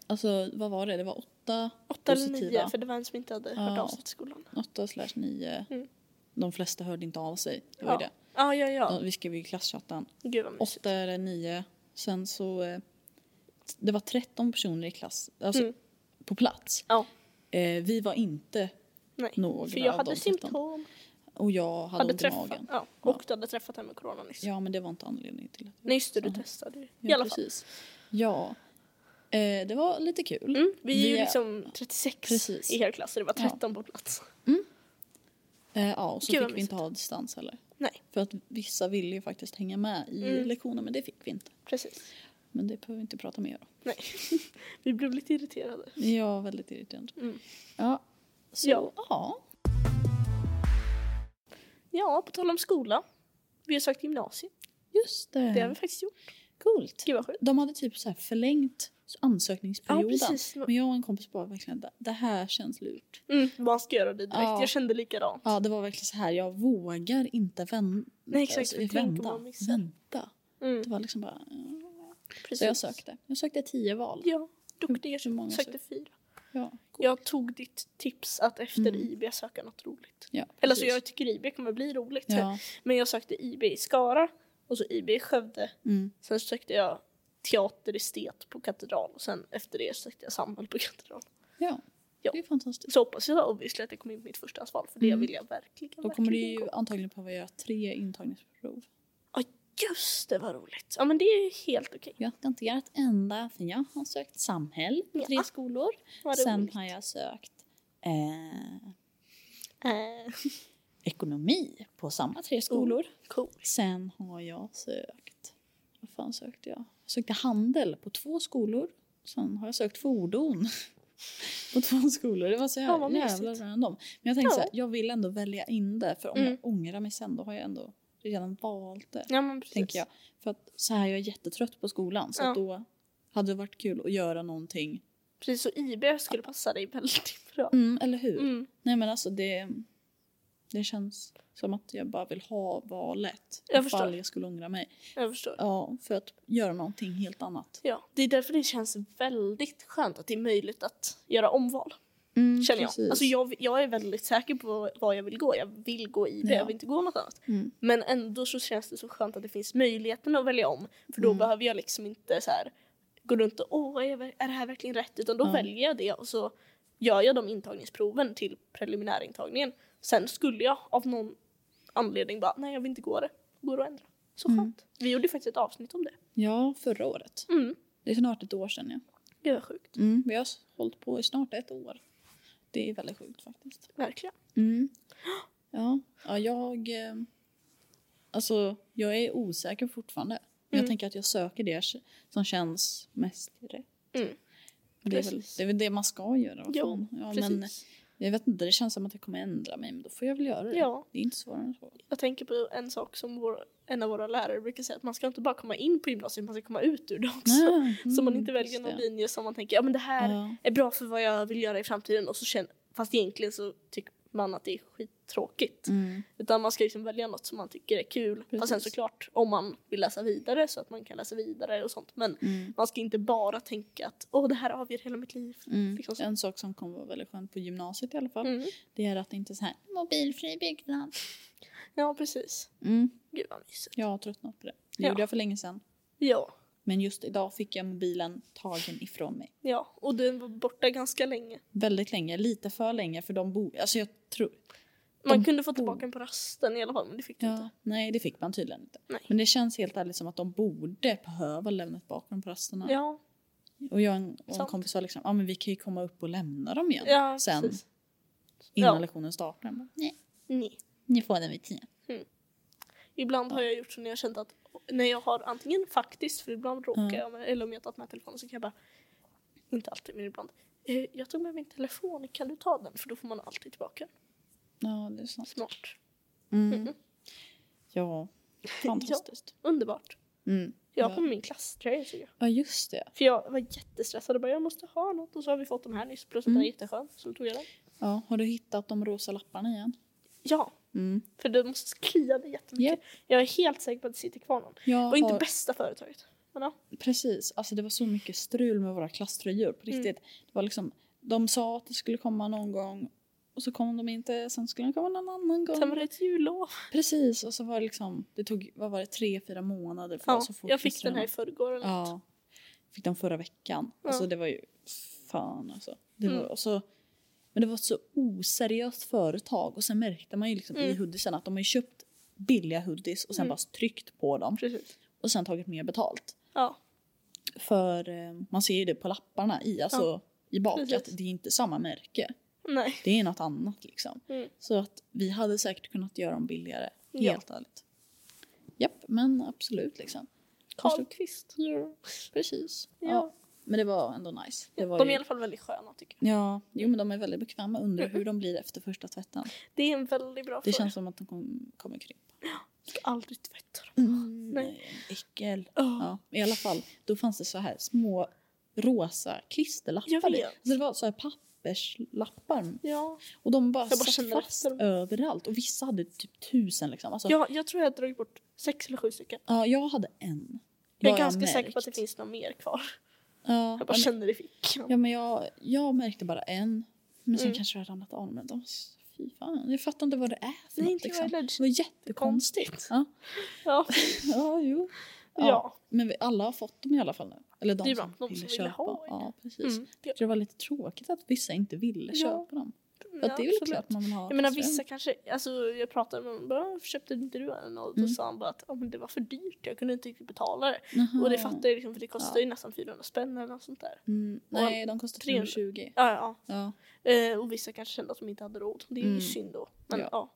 [SPEAKER 2] Alltså vad var det? Det var åtta,
[SPEAKER 1] Åtta eller
[SPEAKER 2] Positiva.
[SPEAKER 1] nio för det var en som inte hade hört
[SPEAKER 2] Ja.
[SPEAKER 1] av sig till skolan.
[SPEAKER 2] åtta slash nio.
[SPEAKER 1] Mm.
[SPEAKER 2] De flesta hörde inte av sig. Det var
[SPEAKER 1] Ja,
[SPEAKER 2] ju det.
[SPEAKER 1] ja, ja. ja.
[SPEAKER 2] De- Vi skrev ju i klasschatten.
[SPEAKER 1] Gud vad mysigt.
[SPEAKER 2] Åtta eller nio. Sen så. eh, Det var 13 personer i klass. Alltså
[SPEAKER 1] Mm.
[SPEAKER 2] på plats.
[SPEAKER 1] Ja.
[SPEAKER 2] Eh, vi var inte
[SPEAKER 1] Nej.
[SPEAKER 2] några
[SPEAKER 1] För jag
[SPEAKER 2] av
[SPEAKER 1] hade
[SPEAKER 2] de 13.
[SPEAKER 1] symptom.
[SPEAKER 2] Och jag hade,
[SPEAKER 1] Hade
[SPEAKER 2] ont i
[SPEAKER 1] träffat,
[SPEAKER 2] magen.
[SPEAKER 1] ja,
[SPEAKER 2] Ja.
[SPEAKER 1] och du hade träffat henne med corona nyss.
[SPEAKER 2] Ja men det var inte anledningen till att
[SPEAKER 1] Nej just det, du
[SPEAKER 2] Ja.
[SPEAKER 1] testade ju. I
[SPEAKER 2] Ja,
[SPEAKER 1] alla fall.
[SPEAKER 2] precis. Ja. Eh, det var lite kul.
[SPEAKER 1] Mm, vi är ju
[SPEAKER 2] Vi är-
[SPEAKER 1] liksom 36
[SPEAKER 2] Precis.
[SPEAKER 1] i hela klassen, det var
[SPEAKER 2] Ja.
[SPEAKER 1] 13 på plats.
[SPEAKER 2] Eh, ja, och så
[SPEAKER 1] Gud, vad
[SPEAKER 2] fick vi
[SPEAKER 1] mysigt.
[SPEAKER 2] inte ha distans heller.
[SPEAKER 1] Nej.
[SPEAKER 2] För att vissa ville ju faktiskt hänga med i
[SPEAKER 1] Mm.
[SPEAKER 2] lektionen men det fick vi inte.
[SPEAKER 1] Precis.
[SPEAKER 2] Men det behöver vi inte prata mer om.
[SPEAKER 1] Vi blev lite irriterade.
[SPEAKER 2] Ja, väldigt irriterande.
[SPEAKER 1] Mm.
[SPEAKER 2] Ja. Så,
[SPEAKER 1] Ja.
[SPEAKER 2] ja.
[SPEAKER 1] Ja, på tal om skola. Vi har sökt gymnasiet.
[SPEAKER 2] Just det.
[SPEAKER 1] Det har vi faktiskt gjort.
[SPEAKER 2] Coolt.
[SPEAKER 1] Gud vad sjukt.
[SPEAKER 2] De hade typ så här förlängt ansökningsperioden.
[SPEAKER 1] Ja, precis.
[SPEAKER 2] Men jag och en kompis bara verkligen det- det här känns lurt.
[SPEAKER 1] Mm, man ska göra det direkt.
[SPEAKER 2] Ja.
[SPEAKER 1] Jag kände likadant.
[SPEAKER 2] Ja, det var verkligen så här. Jag vågar inte vän-
[SPEAKER 1] Nej, exakt, för tänk om
[SPEAKER 2] vända.
[SPEAKER 1] man missar.
[SPEAKER 2] Vänta.
[SPEAKER 1] Mm,
[SPEAKER 2] Det var liksom bara... ja.
[SPEAKER 1] precis.
[SPEAKER 2] Så jag sökte. Jag sökte tio val.
[SPEAKER 1] Ja, duktig.
[SPEAKER 2] Hur många
[SPEAKER 1] Jag sökte fyra.
[SPEAKER 2] Ja,
[SPEAKER 1] Mm. Jag tog ditt tips att efter
[SPEAKER 2] Mm.
[SPEAKER 1] IB söka något roligt.
[SPEAKER 2] ja
[SPEAKER 1] Eller så
[SPEAKER 2] precis.
[SPEAKER 1] jag tycker IB kommer bli roligt.
[SPEAKER 2] Ja.
[SPEAKER 1] Men jag sökte IB i Skara och så IB i Skövde.
[SPEAKER 2] Mm.
[SPEAKER 1] Sen sökte jag teater estet på katedral och sen efter det sökte jag samhäll på katedral.
[SPEAKER 2] Ja.
[SPEAKER 1] Ja.
[SPEAKER 2] det är fantastastiskt.
[SPEAKER 1] Så hoppas jag obviously att jag kommer in på mitt förstahandsval för det
[SPEAKER 2] Mm.
[SPEAKER 1] vill jag verkligen.
[SPEAKER 2] Då kommer du
[SPEAKER 1] verkligen gå.
[SPEAKER 2] ju antagligen behöva göra tre intagningsprov.
[SPEAKER 1] Ja just det, vad roligt. Ja men det är ju helt okej.
[SPEAKER 2] Jag ska inte göra ett enda för jag har sökt samhäll på
[SPEAKER 1] Ja.
[SPEAKER 2] tre skolor.
[SPEAKER 1] Vad
[SPEAKER 2] Sen
[SPEAKER 1] roligt.
[SPEAKER 2] har jag sökt eh,
[SPEAKER 1] Eh,
[SPEAKER 2] ekonomi på samma
[SPEAKER 1] Oh,
[SPEAKER 2] tre skolor.
[SPEAKER 1] cool.
[SPEAKER 2] Sen har jag sökt, vad fan sökte jag? Jag sökte handel på två skolor. Sen har jag sökt fordon på två skolor. Det var så
[SPEAKER 1] Ja, vad
[SPEAKER 2] här
[SPEAKER 1] mysigt.
[SPEAKER 2] jävla random. Men jag tänkte
[SPEAKER 1] Ja.
[SPEAKER 2] så här, jag vill ändå välja in det för om
[SPEAKER 1] Mm.
[SPEAKER 2] jag ångrar mig sen då har jag ändå redan valt det.
[SPEAKER 1] Ja men precis.
[SPEAKER 2] Tänker jag. För att så här, jag är jättetrött på skolan så
[SPEAKER 1] Ja.
[SPEAKER 2] att då hade det varit kul att göra någonting.
[SPEAKER 1] Precis så IB skulle passa dig väldigt bra.
[SPEAKER 2] Mm, eller hur?
[SPEAKER 1] Mm.
[SPEAKER 2] Nej men alltså det, det känns som att jag bara vill ha valet.
[SPEAKER 1] Jag förstår.
[SPEAKER 2] ifall jag skulle ångra mig.
[SPEAKER 1] Jag förstår.
[SPEAKER 2] Ja, för att göra någonting helt annat.
[SPEAKER 1] Ja, det är därför det känns väldigt skönt att det är möjligt att göra omval.
[SPEAKER 2] Mm,
[SPEAKER 1] Känner jag. Alltså jag, jag är väldigt säker på vad jag vill gå. Jag vill gå IB,
[SPEAKER 2] Ja.
[SPEAKER 1] jag vill inte gå något annat.
[SPEAKER 2] Mm.
[SPEAKER 1] Men ändå så känns det så skönt att det finns möjligheten att välja om. För då
[SPEAKER 2] Mm.
[SPEAKER 1] behöver jag liksom inte så här, gå runt och åh, är jag ver- är det här verkligen rätt? Utan då
[SPEAKER 2] Ja.
[SPEAKER 1] väljer jag det och så gör jag de intagningsproven till preliminärintagningen. Sen skulle jag av någon anledning bara, nej jag vill inte gå det. Går att ändra. Så skönt.
[SPEAKER 2] Mm.
[SPEAKER 1] Vi gjorde ju faktiskt ett avsnitt om det.
[SPEAKER 2] Ja, förra året.
[SPEAKER 1] Mm.
[SPEAKER 2] Det är snart ett år sedan ja.
[SPEAKER 1] Det var sjukt.
[SPEAKER 2] Mm. Vi har s- hållit på i snart ett år. Det är väldigt sjukt faktiskt.
[SPEAKER 1] Verkligen.
[SPEAKER 2] Mm. Ja. ja, jag... eh, Alltså, jag är osäker fortfarande. Men
[SPEAKER 1] Mm.
[SPEAKER 2] Jag tänker att jag söker det som känns mest rätt.
[SPEAKER 1] Mm.
[SPEAKER 2] Men Det är, väl,
[SPEAKER 1] Precis.
[SPEAKER 2] det är väl det man ska göra. Vad
[SPEAKER 1] Jo,
[SPEAKER 2] fan. Ja, men
[SPEAKER 1] precis.
[SPEAKER 2] jag vet inte, det känns som att jag kommer ändra mig, men då får jag väl göra det.
[SPEAKER 1] Ja.
[SPEAKER 2] Det är inte svårare än så.
[SPEAKER 1] Jag tänker på en sak som vår, en av våra lärare brukar säga, att man ska inte bara komma in på gymnasiet, man ska komma ut ur det också.
[SPEAKER 2] Nej,
[SPEAKER 1] Så man
[SPEAKER 2] mm,
[SPEAKER 1] inte väljer
[SPEAKER 2] just
[SPEAKER 1] någon
[SPEAKER 2] det.
[SPEAKER 1] linje som man tänker, ja men det här
[SPEAKER 2] Ja.
[SPEAKER 1] är bra för vad jag vill göra i framtiden och så känner, fast egentligen så tycker man att det är skittråkigt.
[SPEAKER 2] Mm.
[SPEAKER 1] Utan man ska liksom välja något som man tycker är kul. Fast sen
[SPEAKER 2] Precis.
[SPEAKER 1] såklart om man vill läsa vidare så att man kan läsa vidare och sånt. Men
[SPEAKER 2] Mm.
[SPEAKER 1] man ska inte bara tänka att åh det här avgör hela mitt liv.
[SPEAKER 2] Mm.
[SPEAKER 1] Liksom så.
[SPEAKER 2] En sak som kommer vara väldigt skönt på gymnasiet i alla fall,
[SPEAKER 1] Mm.
[SPEAKER 2] det är att det inte är så här mobilfri byggnad.
[SPEAKER 1] Ja precis.
[SPEAKER 2] Mm.
[SPEAKER 1] Gud vad mysigt.
[SPEAKER 2] Jag har tröttnat på det. Det
[SPEAKER 1] Ja.
[SPEAKER 2] gjorde jag för länge sedan.
[SPEAKER 1] Ja,
[SPEAKER 2] Men just idag fick jag mobilen tagen ifrån mig.
[SPEAKER 1] ja. Och den var borta ganska länge.
[SPEAKER 2] Väldigt länge, lite för länge för de bor... Alltså jag tror...
[SPEAKER 1] Man
[SPEAKER 2] De
[SPEAKER 1] kunde få
[SPEAKER 2] bor-
[SPEAKER 1] tillbaka den på rasten i alla fall men det fick du inte.
[SPEAKER 2] Ja, nej, det fick man tydligen inte.
[SPEAKER 1] Nej.
[SPEAKER 2] Men det känns helt ärligt som att de borde behöva lämna tillbaka dem på rasterna.
[SPEAKER 1] Ja,
[SPEAKER 2] Och jag och en, och en
[SPEAKER 1] Sant.
[SPEAKER 2] kompis var liksom, ja ah, men vi kan ju komma upp och lämna dem igen
[SPEAKER 1] ja
[SPEAKER 2] sen
[SPEAKER 1] precis.
[SPEAKER 2] innan
[SPEAKER 1] Ja.
[SPEAKER 2] lektionen startar. Jag Bara, nej,
[SPEAKER 1] Nej.
[SPEAKER 2] ni får den vid tio.
[SPEAKER 1] Ibland har jag gjort så när jag känt att när jag har antingen faktiskt, för ibland råkar
[SPEAKER 2] Mm.
[SPEAKER 1] jag med, eller om jag tagit med telefonen så kan jag bara, inte alltid men ibland, eh, jag tog med min telefon, kan du ta den? För då får man alltid tillbaka den.
[SPEAKER 2] Ja, det är sant.
[SPEAKER 1] Smart.
[SPEAKER 2] Mm.
[SPEAKER 1] Mhm.
[SPEAKER 2] Ja, fantastiskt.
[SPEAKER 1] Underbart.
[SPEAKER 2] ja. Mm.
[SPEAKER 1] Jag
[SPEAKER 2] Ja.
[SPEAKER 1] har på mig min klasströja såg jag.
[SPEAKER 2] ja, just det.
[SPEAKER 1] För jag var jättestressad och bara jag måste ha något och så har vi fått de här nyss plus att den är
[SPEAKER 2] Mm.
[SPEAKER 1] jätteskön så då tog jag den.
[SPEAKER 2] Ja, har du hittat de rosa lapparna igen?
[SPEAKER 1] Ja,
[SPEAKER 2] Mm.
[SPEAKER 1] för det måste klia det jättemycket. Jag är helt säker på att det sitter kvar någon.
[SPEAKER 2] Jag
[SPEAKER 1] Och inte
[SPEAKER 2] har-
[SPEAKER 1] bästa företaget. Men ja.
[SPEAKER 2] Precis, alltså det var så mycket strul med våra klasströjor på
[SPEAKER 1] Mm.
[SPEAKER 2] riktigt. Det var liksom, de sa att det skulle komma någon gång och så kom de inte, sen skulle de komma någon annan gång.
[SPEAKER 1] Sen var det ett jullov.
[SPEAKER 2] Precis, och så var det liksom, det tog, vad var det, tre, fyra månader för
[SPEAKER 1] Ja,
[SPEAKER 2] oss att få
[SPEAKER 1] jag fick den här i
[SPEAKER 2] klasströjorna.
[SPEAKER 1] förrgår eller något.
[SPEAKER 2] Ja, fick den förra veckan.
[SPEAKER 1] Ja.
[SPEAKER 2] Alltså det var ju, fan alltså. Det var,
[SPEAKER 1] Mm.
[SPEAKER 2] och så, men det var ett så oseriöst företag och sen märkte man ju liksom i
[SPEAKER 1] Mm.
[SPEAKER 2] hoodiesen att de har ju köpt billiga hoodies och sen
[SPEAKER 1] Mm.
[SPEAKER 2] bara tryckt på dem
[SPEAKER 1] Precis.
[SPEAKER 2] och sen tagit mer betalt.
[SPEAKER 1] Ja.
[SPEAKER 2] För eh, man ser ju det på lapparna i, alltså, i bak
[SPEAKER 1] Precis.
[SPEAKER 2] att det är inte samma märke.
[SPEAKER 1] Nej.
[SPEAKER 2] Det är något annat liksom.
[SPEAKER 1] Mm.
[SPEAKER 2] Så att vi hade säkert kunnat göra dem billigare.
[SPEAKER 1] Ja.
[SPEAKER 2] Helt ärligt. Japp, men absolut liksom.
[SPEAKER 1] Karlqvist.
[SPEAKER 2] Precis. Ja.
[SPEAKER 1] Ja.
[SPEAKER 2] Men det var ändå nice. Det var
[SPEAKER 1] de är Mm.
[SPEAKER 2] ju-
[SPEAKER 1] i alla fall väldigt sköna tycker jag.
[SPEAKER 2] Ja, jo men de är väldigt bekväma. Undrar hur de blir efter första tvätten.
[SPEAKER 1] Det är en väldigt bra
[SPEAKER 2] Det
[SPEAKER 1] fråga.
[SPEAKER 2] känns som att de kom, kommer krympa.
[SPEAKER 1] Jag ska aldrig tvätta dem.
[SPEAKER 2] Mm,
[SPEAKER 1] nej.
[SPEAKER 2] Äckel.
[SPEAKER 1] Åh,
[SPEAKER 2] Ja, i alla fall. Då fanns det så här små rosa klisterlappar.
[SPEAKER 1] Jag vet.
[SPEAKER 2] i. Alltså det var så här papperslappar.
[SPEAKER 1] Ja.
[SPEAKER 2] Och de bara,
[SPEAKER 1] bara
[SPEAKER 2] satt
[SPEAKER 1] känner
[SPEAKER 2] fast
[SPEAKER 1] efter dem.
[SPEAKER 2] överallt. Och vissa hade typ tusen liksom. Alltså, ja.
[SPEAKER 1] ja, jag tror jag har dragit bort sex eller sju stycken.
[SPEAKER 2] jag hade en.
[SPEAKER 1] Jag
[SPEAKER 2] Vad
[SPEAKER 1] är ganska
[SPEAKER 2] märkt.
[SPEAKER 1] säker på att det finns några mer kvar.
[SPEAKER 2] Ja,
[SPEAKER 1] Jag bara
[SPEAKER 2] men-
[SPEAKER 1] känner det i fickan.
[SPEAKER 2] ja, men jag, jag märkte bara en. Men sen
[SPEAKER 1] Mm.
[SPEAKER 2] kanske jag ramlat av. Men de, fy fan. Jag fattar inte vad det är för
[SPEAKER 1] Nej,
[SPEAKER 2] något.
[SPEAKER 1] inte jag
[SPEAKER 2] Liksom.
[SPEAKER 1] heller.
[SPEAKER 2] Det var jättekonstigt. Ja.
[SPEAKER 1] Ja.
[SPEAKER 2] ja, jo. Ja.
[SPEAKER 1] Ja.
[SPEAKER 2] Men vi, alla har fått dem i alla fall nu. Eller de
[SPEAKER 1] Det är
[SPEAKER 2] som,
[SPEAKER 1] bra. De
[SPEAKER 2] ville
[SPEAKER 1] som ville
[SPEAKER 2] köpa.
[SPEAKER 1] ha, ja.
[SPEAKER 2] ja, precis.
[SPEAKER 1] Mm. Ja,
[SPEAKER 2] Så det var lite tråkigt att vissa inte ville
[SPEAKER 1] Ja.
[SPEAKER 2] köpa dem. För att det är väl
[SPEAKER 1] absolut.
[SPEAKER 2] klart man vill ha.
[SPEAKER 1] Jag menar
[SPEAKER 2] ström.
[SPEAKER 1] vissa kanske, alltså jag pratade med honom bara, "Varför köpte inte du en? Och då
[SPEAKER 2] Mm.
[SPEAKER 1] sa han bara att ja men det var för dyrt, jag kunde inte riktigt betala det.
[SPEAKER 2] Jaha.
[SPEAKER 1] Och det fattar jag liksom för det kostar
[SPEAKER 2] Ah. Ja.
[SPEAKER 1] ju nästan 400 spänn eller något sånt där.
[SPEAKER 2] Mm, nej, de kostar
[SPEAKER 1] 300.
[SPEAKER 2] 320.
[SPEAKER 1] Ja, ja.
[SPEAKER 2] Ja.
[SPEAKER 1] Eh, och vissa kanske kände att de inte hade råd. Det är ju
[SPEAKER 2] Mm.
[SPEAKER 1] synd då. Men
[SPEAKER 2] Ja.
[SPEAKER 1] ja.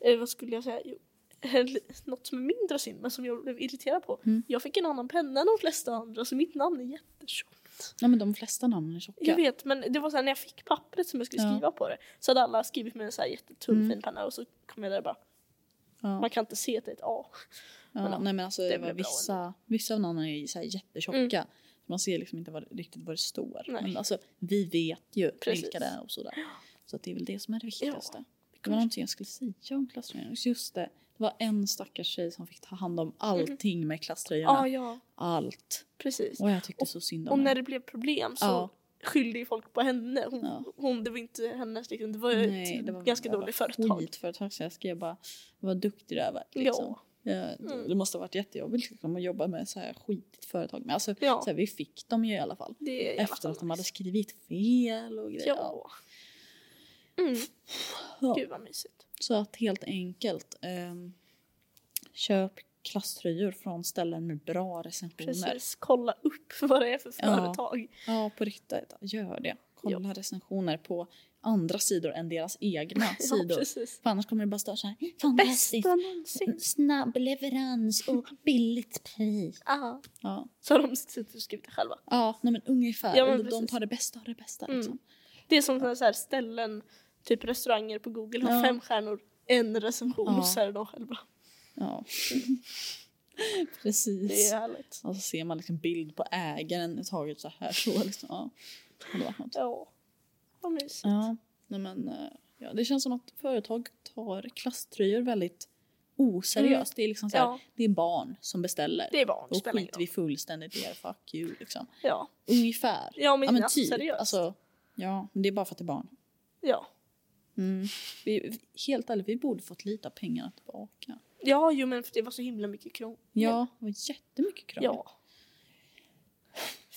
[SPEAKER 1] Eh, vad skulle jag säga? Jo, eh, något som är mindre synd men som jag blev irriterad på.
[SPEAKER 2] Mm.
[SPEAKER 1] Jag fick en annan penna än de flesta andra så mitt namn är jättetjockt.
[SPEAKER 2] ja, men de flesta namnen är tjocka.
[SPEAKER 1] Jag vet men det var så här när jag fick pappret som jag skulle
[SPEAKER 2] Ja.
[SPEAKER 1] skriva på det så hade alla skrivit med en så här jättetunn
[SPEAKER 2] Mm.
[SPEAKER 1] fin penna och så kom jag där och bara
[SPEAKER 2] Ja,
[SPEAKER 1] man kan inte se att det är ett A.
[SPEAKER 2] ja,
[SPEAKER 1] men ja,
[SPEAKER 2] nej, men alltså, det,
[SPEAKER 1] det
[SPEAKER 2] var
[SPEAKER 1] blev bra Mm.
[SPEAKER 2] vissa, vissa av namnen är ju så här jättetjocka. Så man ser liksom inte vad, riktigt vad det står.
[SPEAKER 1] Nej.
[SPEAKER 2] Men alltså, vi vet ju
[SPEAKER 1] Precis.
[SPEAKER 2] vilka det är och sådär. Så att det är väl det som är det viktigaste. Det var
[SPEAKER 1] kommer-
[SPEAKER 2] någonting jag skulle säga om klasströjorna. Just det, det var en stackars tjej som fick ta hand om allting med
[SPEAKER 1] Ja,
[SPEAKER 2] klasströjorna.
[SPEAKER 1] ah, Mhm. ja.
[SPEAKER 2] Allt.
[SPEAKER 1] Precis.
[SPEAKER 2] Och jag tyckte
[SPEAKER 1] Och-
[SPEAKER 2] så synd
[SPEAKER 1] Och
[SPEAKER 2] om
[SPEAKER 1] när
[SPEAKER 2] henne.
[SPEAKER 1] det blev problem så
[SPEAKER 2] Ja.
[SPEAKER 1] skyllde ju folk på henne. Hon,
[SPEAKER 2] Ja.
[SPEAKER 1] hon, det var inte hennes liksom. Det var ju
[SPEAKER 2] Nej,
[SPEAKER 1] ett
[SPEAKER 2] det var
[SPEAKER 1] ganska
[SPEAKER 2] jävla
[SPEAKER 1] dåligt företag.
[SPEAKER 2] Skitföretag så jag skrev bara vad duktig du är liksom.
[SPEAKER 1] Ja. Mm.
[SPEAKER 2] Ja, det måste ha varit jättejobbigt liksom, att jobba med så här skitigt företag. Men alltså,
[SPEAKER 1] Ja.
[SPEAKER 2] så här, vi fick dem ju i alla fall.
[SPEAKER 1] Det är i alla
[SPEAKER 2] Efter
[SPEAKER 1] fall
[SPEAKER 2] att de hade
[SPEAKER 1] nice.
[SPEAKER 2] skrivit fel och grejer.
[SPEAKER 1] Ja. Mm.
[SPEAKER 2] Ja.
[SPEAKER 1] Gud vad mysigt.
[SPEAKER 2] Så att helt enkelt ehm, köp klasströjor från ställen med bra recensioner.
[SPEAKER 1] Precis. Kolla upp vad det är för
[SPEAKER 2] Ja.
[SPEAKER 1] företag.
[SPEAKER 2] Ja, på riktigt. Gör det. kolla recensioner på andra sidor än deras egna sidor.
[SPEAKER 1] precis.
[SPEAKER 2] För annars kommer det bara stå så här. Fantastiskt!
[SPEAKER 1] Bästa
[SPEAKER 2] Mm.
[SPEAKER 1] någonsin.
[SPEAKER 2] Snabb leverans och billigt pris.
[SPEAKER 1] Ah.
[SPEAKER 2] Ja,
[SPEAKER 1] Så har de sitter och skrivit det själva.
[SPEAKER 2] ja nej men ungefär.
[SPEAKER 1] Ja, men
[SPEAKER 2] de, de
[SPEAKER 1] precis.
[SPEAKER 2] tar det bästa av det bästa.
[SPEAKER 1] Mm.
[SPEAKER 2] Liksom.
[SPEAKER 1] Det är som såna så här ställen, typ restauranger på Google har
[SPEAKER 2] Ja.
[SPEAKER 1] fem stjärnor, en recension
[SPEAKER 2] Ja.
[SPEAKER 1] och så är det de själva.
[SPEAKER 2] Ja,
[SPEAKER 1] Det
[SPEAKER 2] precis.
[SPEAKER 1] är härligt.
[SPEAKER 2] Och så ser man liksom bild på ägaren i taget så här. Så liksom. ja. Ja, det var skönt.
[SPEAKER 1] Ja, vad mysigt.
[SPEAKER 2] Ja, nej men, eh, ja, det känns som att företag tar klasströjor väldigt oseriöst. Det är liksom så här,
[SPEAKER 1] Ja,
[SPEAKER 2] det är barn som beställer.
[SPEAKER 1] det är barn.
[SPEAKER 2] Då
[SPEAKER 1] spelar ingen
[SPEAKER 2] skiter vi
[SPEAKER 1] roll.
[SPEAKER 2] fullständigt i er, fuck you liksom.
[SPEAKER 1] Ja,
[SPEAKER 2] Ungefär.
[SPEAKER 1] ja men,
[SPEAKER 2] Ja men typ.
[SPEAKER 1] seriöst.
[SPEAKER 2] Alltså, ja, men det är bara för att det är barn.
[SPEAKER 1] Ja.
[SPEAKER 2] Mm. Vi, helt ärligt, vi borde fått lite av pengarna tillbaka.
[SPEAKER 1] ja, jo men för det var så himla mycket krångel.
[SPEAKER 2] Ja, det var jättemycket krångel.
[SPEAKER 1] Ja.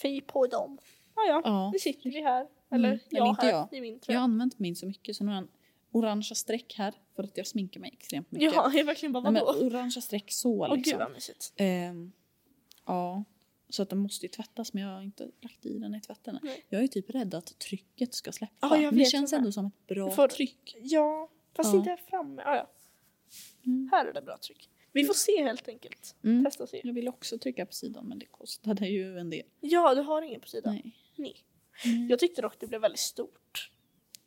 [SPEAKER 1] Fy på dem. Ja, ja.
[SPEAKER 2] ja.
[SPEAKER 1] Nu sitter vi här. Eller
[SPEAKER 2] Mm,
[SPEAKER 1] jag
[SPEAKER 2] eller inte
[SPEAKER 1] här
[SPEAKER 2] jag.
[SPEAKER 1] i min
[SPEAKER 2] Jag
[SPEAKER 1] tröja.
[SPEAKER 2] har använt min så mycket så nu har jag en orangea streck här för att jag sminkar mig extremt mycket.
[SPEAKER 1] Ja, jag är verkligen bara
[SPEAKER 2] Nej, men
[SPEAKER 1] vadå?
[SPEAKER 2] orangea streck så
[SPEAKER 1] Åh gud
[SPEAKER 2] liksom.
[SPEAKER 1] vad mysigt.
[SPEAKER 2] Ehm, ja. Så att den måste ju tvättas men jag har inte lagt i den i tvätten. än.
[SPEAKER 1] Nej.
[SPEAKER 2] Jag är typ rädd att trycket ska släppa.
[SPEAKER 1] Ja, jag
[SPEAKER 2] men det
[SPEAKER 1] vet
[SPEAKER 2] känns
[SPEAKER 1] jag med.
[SPEAKER 2] ändå som ett bra
[SPEAKER 1] Du får-
[SPEAKER 2] tryck.
[SPEAKER 1] Ja, fast
[SPEAKER 2] Ja.
[SPEAKER 1] inte här framme. Ja, ja.
[SPEAKER 2] Mm.
[SPEAKER 1] Här är det bra tryck. Vi får se helt enkelt.
[SPEAKER 2] Mm.
[SPEAKER 1] Testa och se.
[SPEAKER 2] Jag vill också trycka på sidan men det kostade ju en del.
[SPEAKER 1] Ja, du har ingen på sidan.
[SPEAKER 2] Nej.
[SPEAKER 1] Nej.
[SPEAKER 2] Mm.
[SPEAKER 1] Jag tyckte dock det blev väldigt stort.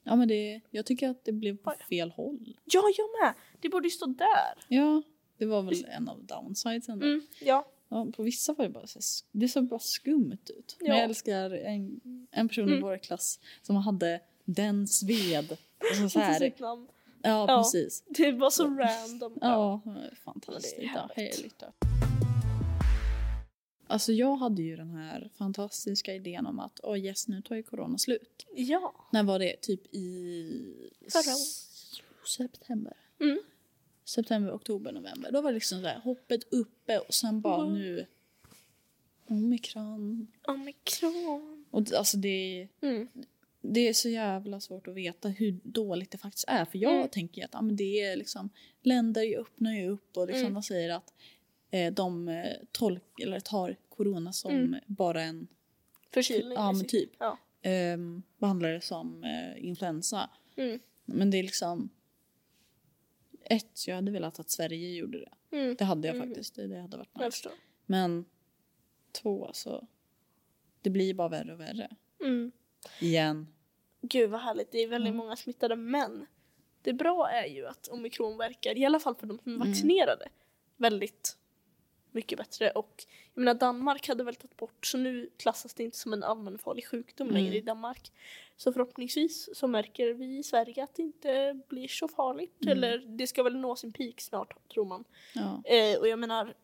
[SPEAKER 2] Ja men det, jag tycker att det blev på
[SPEAKER 1] Oj.
[SPEAKER 2] fel håll.
[SPEAKER 1] Ja, jag med. Det borde ju stå där.
[SPEAKER 2] Ja, det var väl en av downsiden. då.
[SPEAKER 1] Mm, ja.
[SPEAKER 2] Ja, på vissa var det bara, så här sk- det såg bara skumt ut. Men
[SPEAKER 1] Ja.
[SPEAKER 2] jag älskar en, en person i
[SPEAKER 1] Mm.
[SPEAKER 2] vår klass som hade den sved. Och så så
[SPEAKER 1] inte
[SPEAKER 2] här,
[SPEAKER 1] sitt namn.
[SPEAKER 2] ja,
[SPEAKER 1] Ja.
[SPEAKER 2] precis.
[SPEAKER 1] Det var så random.
[SPEAKER 2] Ja, fantastiskt.
[SPEAKER 1] Men det är
[SPEAKER 2] Ja,
[SPEAKER 1] härligt.
[SPEAKER 2] härligt. ja. Alltså jag hade ju den här fantastiska idén om att åh yes, nu tar ju corona slut.
[SPEAKER 1] Ja.
[SPEAKER 2] När var det? Typ i
[SPEAKER 1] Förra året.
[SPEAKER 2] s- september?
[SPEAKER 1] Mm.
[SPEAKER 2] September, oktober, november. Då var det liksom så här, hoppet uppe och sen bara
[SPEAKER 1] Mm.
[SPEAKER 2] nu omikron.
[SPEAKER 1] Omikron.
[SPEAKER 2] Och d- alltså det,
[SPEAKER 1] Mm.
[SPEAKER 2] det är så jävla svårt att veta hur dåligt det faktiskt är. För jag
[SPEAKER 1] Mm.
[SPEAKER 2] tänker ju att ja, men det är liksom, länder öppnar ju upp och liksom
[SPEAKER 1] Mm.
[SPEAKER 2] de säger att eh, de eh, tolk, eller tar corona som
[SPEAKER 1] Mm.
[SPEAKER 2] bara en,
[SPEAKER 1] Förkylning.
[SPEAKER 2] Ja, men
[SPEAKER 1] liksom.
[SPEAKER 2] typ.
[SPEAKER 1] Ja.
[SPEAKER 2] ehm, behandlar det som eh, influensa.
[SPEAKER 1] Mm.
[SPEAKER 2] Men det är liksom... Ett, jag hade velat att Sverige gjorde det.
[SPEAKER 1] Mm.
[SPEAKER 2] Det hade jag
[SPEAKER 1] Mm.
[SPEAKER 2] faktiskt. Det, det hade varit
[SPEAKER 1] Jag
[SPEAKER 2] nice.
[SPEAKER 1] förstår.
[SPEAKER 2] Men två, alltså. Det blir bara värre och värre.
[SPEAKER 1] Mm.
[SPEAKER 2] Igen.
[SPEAKER 1] Gud vad härligt, det är väldigt
[SPEAKER 2] Mm.
[SPEAKER 1] många smittade men det bra är ju att omikron verkar, i alla fall för de som är
[SPEAKER 2] Mm.
[SPEAKER 1] vaccinerade, väldigt mycket bättre. Och jag menar Danmark hade väl tagit bort så nu klassas det inte som en allmänfarlig sjukdom
[SPEAKER 2] Mm.
[SPEAKER 1] längre i Danmark. Så förhoppningsvis så märker vi i Sverige att det inte blir så farligt
[SPEAKER 2] Mm.
[SPEAKER 1] eller det ska väl nå sin peak snart tror man.
[SPEAKER 2] Ja.
[SPEAKER 1] Eh, och jag menar,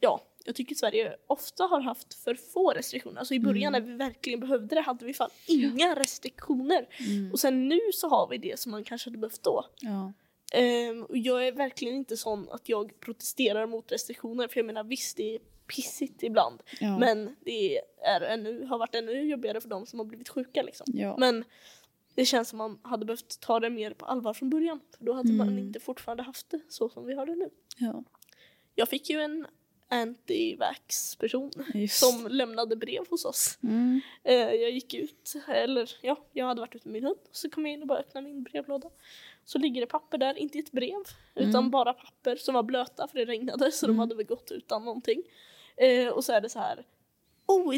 [SPEAKER 1] ja, jag tycker Sverige ofta har haft för få restriktioner. Alltså i början
[SPEAKER 2] Mm.
[SPEAKER 1] när vi verkligen behövde det hade vi fan inga restriktioner.
[SPEAKER 2] Mm.
[SPEAKER 1] Och sen nu så har vi det som man kanske hade behövt då.
[SPEAKER 2] ja.
[SPEAKER 1] Ehm, och jag är verkligen inte sån att jag protesterar mot restriktioner för jag menar visst det är pissigt ibland
[SPEAKER 2] ja.
[SPEAKER 1] men det är ännu, har varit ännu jobbigare för de som har blivit sjuka liksom.
[SPEAKER 2] ja.
[SPEAKER 1] Men det känns som man hade behövt ta det mer på allvar från början för då hade man
[SPEAKER 2] Mm.
[SPEAKER 1] inte fortfarande haft det så som vi har det nu.
[SPEAKER 2] ja.
[SPEAKER 1] Jag fick ju en anti-vax person
[SPEAKER 2] Just.
[SPEAKER 1] som lämnade brev hos oss.
[SPEAKER 2] Mm.
[SPEAKER 1] Eh, Jag gick ut, eller ja, jag hade varit ute med min hund. Så kom jag in och bara öppnade min brevlåda. Så ligger det papper där, inte ett brev
[SPEAKER 2] Mm.
[SPEAKER 1] utan bara papper som var blöta för det regnade så
[SPEAKER 2] Mm.
[SPEAKER 1] de hade väl gått utan någonting. Eh, och så är det så här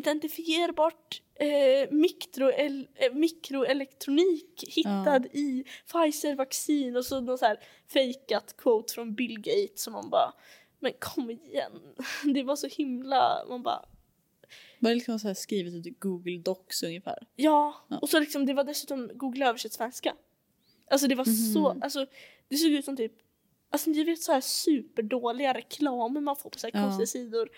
[SPEAKER 1] oidentifierbart eh, mikro eh, mikroelektronik hittad i Pfizer-vaccin och så någon så här fejkat quote från Bill Gates som man bara men kom igen. Det var så himla, man bara
[SPEAKER 2] Var det liksom så här skrivet i Google Docs ungefär?
[SPEAKER 1] Ja,
[SPEAKER 2] Ja.
[SPEAKER 1] och så liksom, det var dessutom Google översätt svenska. Alltså det var så,
[SPEAKER 2] Mhm.
[SPEAKER 1] alltså det såg ut som typ, alltså ni vet så här superdåliga reklamer man får på så här
[SPEAKER 2] Ja.
[SPEAKER 1] konstiga sidor.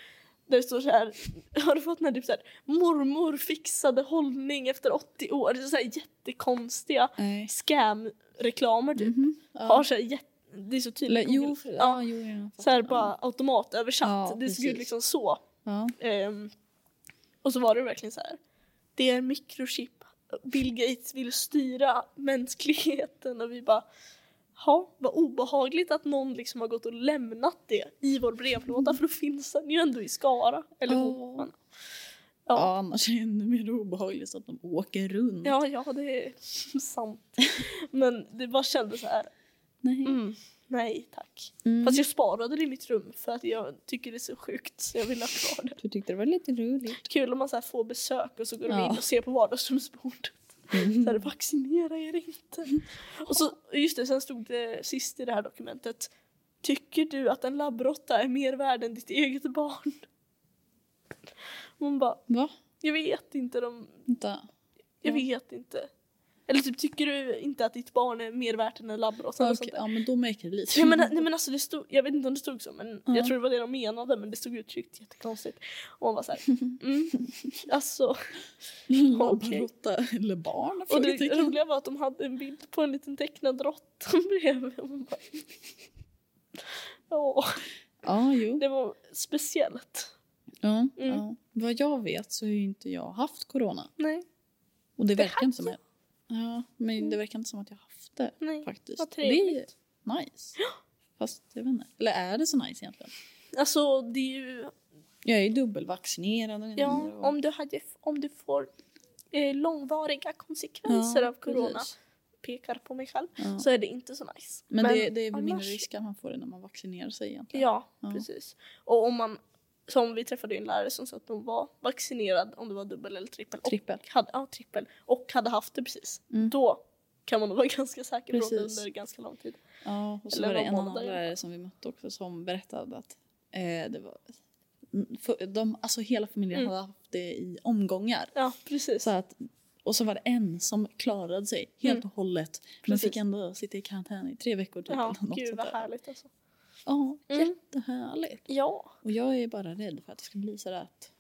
[SPEAKER 1] Där det står så här, har du fått den här typ så här, mormor fixade hållning efter 80 år. Det är så här jättekonstiga
[SPEAKER 2] Nej.
[SPEAKER 1] scam-reklamer typ.
[SPEAKER 2] Mhm. Ja.
[SPEAKER 1] Har så här jätte, det är så
[SPEAKER 2] Eller,
[SPEAKER 1] tydligt.
[SPEAKER 2] jo,
[SPEAKER 1] Google.
[SPEAKER 2] för, ja.
[SPEAKER 1] ja.
[SPEAKER 2] jo, ja, jag
[SPEAKER 1] Så här
[SPEAKER 2] fattar.
[SPEAKER 1] bara automatöversatt.
[SPEAKER 2] Ja,
[SPEAKER 1] det såg ut
[SPEAKER 2] precis.
[SPEAKER 1] liksom så.
[SPEAKER 2] Ja.
[SPEAKER 1] Ehm, och så var det verkligen så här. Det är mikrochip. Bill Gates vill styra mänskligheten och vi bara Ja, vad obehagligt att någon liksom har gått och lämnat det i vår brevlåda för då finns den ju ändå i Skara. Eller
[SPEAKER 2] Ja.
[SPEAKER 1] oh.
[SPEAKER 2] Ja. annars är det ännu mer obehagligt så att de åker runt.
[SPEAKER 1] Ja, ja, det är sant. Men det bara kändes så här.
[SPEAKER 2] Nej.
[SPEAKER 1] Mm, nej tack.
[SPEAKER 2] Mm.
[SPEAKER 1] Fast jag sparade det i mitt rum för att jag tycker det är så sjukt så jag vill ha kvar det.
[SPEAKER 2] Du tyckte det var lite roligt.
[SPEAKER 1] Kul om man så här får besök och så går de
[SPEAKER 2] Ja. Mm.
[SPEAKER 1] in och ser på vardagsrumsbordet. Så här, vaccinera er inte. Och så, just det, sen stod det sist i det här dokumentet. Tycker du att en labbråtta är mer värd än ditt eget barn? Man bara,
[SPEAKER 2] Va?
[SPEAKER 1] jag vet inte. De,
[SPEAKER 2] Vänta.
[SPEAKER 1] jag
[SPEAKER 2] Ja.
[SPEAKER 1] vet inte. Eller typ, tycker du inte att ditt barn är mer värt än en labbråtta? eller
[SPEAKER 2] Okej,
[SPEAKER 1] sånt där?
[SPEAKER 2] Ja men då märker det lite.
[SPEAKER 1] Ja, men, nej, men alltså det stod, jag vet inte om det stod så men
[SPEAKER 2] Ja.
[SPEAKER 1] jag tror det var det de menade men det stod uttryckt jättekonstigt. Och man var såhär, mm, alltså. okej.
[SPEAKER 2] Labbråtta eller barn?
[SPEAKER 1] Och det
[SPEAKER 2] Frågetecken.
[SPEAKER 1] roliga var att de hade en bild på en liten tecknad råtta bredvid. Och man bara, ja,
[SPEAKER 2] Ja, jo.
[SPEAKER 1] det var speciellt.
[SPEAKER 2] Ja,
[SPEAKER 1] Mm.
[SPEAKER 2] ja. Vad jag vet så har ju inte jag haft corona.
[SPEAKER 1] Nej,
[SPEAKER 2] Och det
[SPEAKER 1] Det
[SPEAKER 2] verkar inte som
[SPEAKER 1] hade
[SPEAKER 2] jag... Ja, men det
[SPEAKER 1] Mm.
[SPEAKER 2] verkar inte som att jag haft det
[SPEAKER 1] nej.
[SPEAKER 2] faktiskt.
[SPEAKER 1] Vad
[SPEAKER 2] Och det är
[SPEAKER 1] trevligt.
[SPEAKER 2] nice. Fast jag vet inte. Eller är det så nice egentligen?
[SPEAKER 1] Alltså det är ju,
[SPEAKER 2] Jag är ju dubbelvaccinerad. och
[SPEAKER 1] ja,
[SPEAKER 2] grejer och-
[SPEAKER 1] om du, hade, om du får eh, långvariga konsekvenser
[SPEAKER 2] Ja,
[SPEAKER 1] av corona,
[SPEAKER 2] precis.
[SPEAKER 1] pekar på mig själv,
[SPEAKER 2] Ja.
[SPEAKER 1] så är det inte så nice.
[SPEAKER 2] Men, det, det är väl mindre
[SPEAKER 1] annars-
[SPEAKER 2] risk att man får det när man vaccinerar sig egentligen.
[SPEAKER 1] Ja,
[SPEAKER 2] Ja.
[SPEAKER 1] precis. Och om man, som vi träffade ju en lärare som sa att hon var vaccinerad om det var dubbel eller trippel.
[SPEAKER 2] Trippel.
[SPEAKER 1] Och hade, ja, trippel. Och hade haft det precis.
[SPEAKER 2] Mm.
[SPEAKER 1] Då kan man nog vara ganska säker på det
[SPEAKER 2] Precis.
[SPEAKER 1] under ganska lång tid.
[SPEAKER 2] Ja, och så
[SPEAKER 1] Eller
[SPEAKER 2] var det
[SPEAKER 1] någon
[SPEAKER 2] en
[SPEAKER 1] måndag
[SPEAKER 2] annan
[SPEAKER 1] i alla
[SPEAKER 2] lärare som vi mötte också som berättade att eh, det var... Mm, För de, alltså hela familjen
[SPEAKER 1] Mm.
[SPEAKER 2] hade haft det i omgångar.
[SPEAKER 1] Ja, precis.
[SPEAKER 2] Så att, och så var det en som klarade sig helt och hållet men
[SPEAKER 1] Mm. Precis.
[SPEAKER 2] fick ändå sitta i karantän i tre veckor. Typ,
[SPEAKER 1] ja,
[SPEAKER 2] eller något
[SPEAKER 1] gud
[SPEAKER 2] sånt
[SPEAKER 1] vad
[SPEAKER 2] där.
[SPEAKER 1] härligt alltså.
[SPEAKER 2] Ja,
[SPEAKER 1] Mm.
[SPEAKER 2] jättehärligt.
[SPEAKER 1] Ja,
[SPEAKER 2] Och jag är bara rädd för att det ska bli sådär att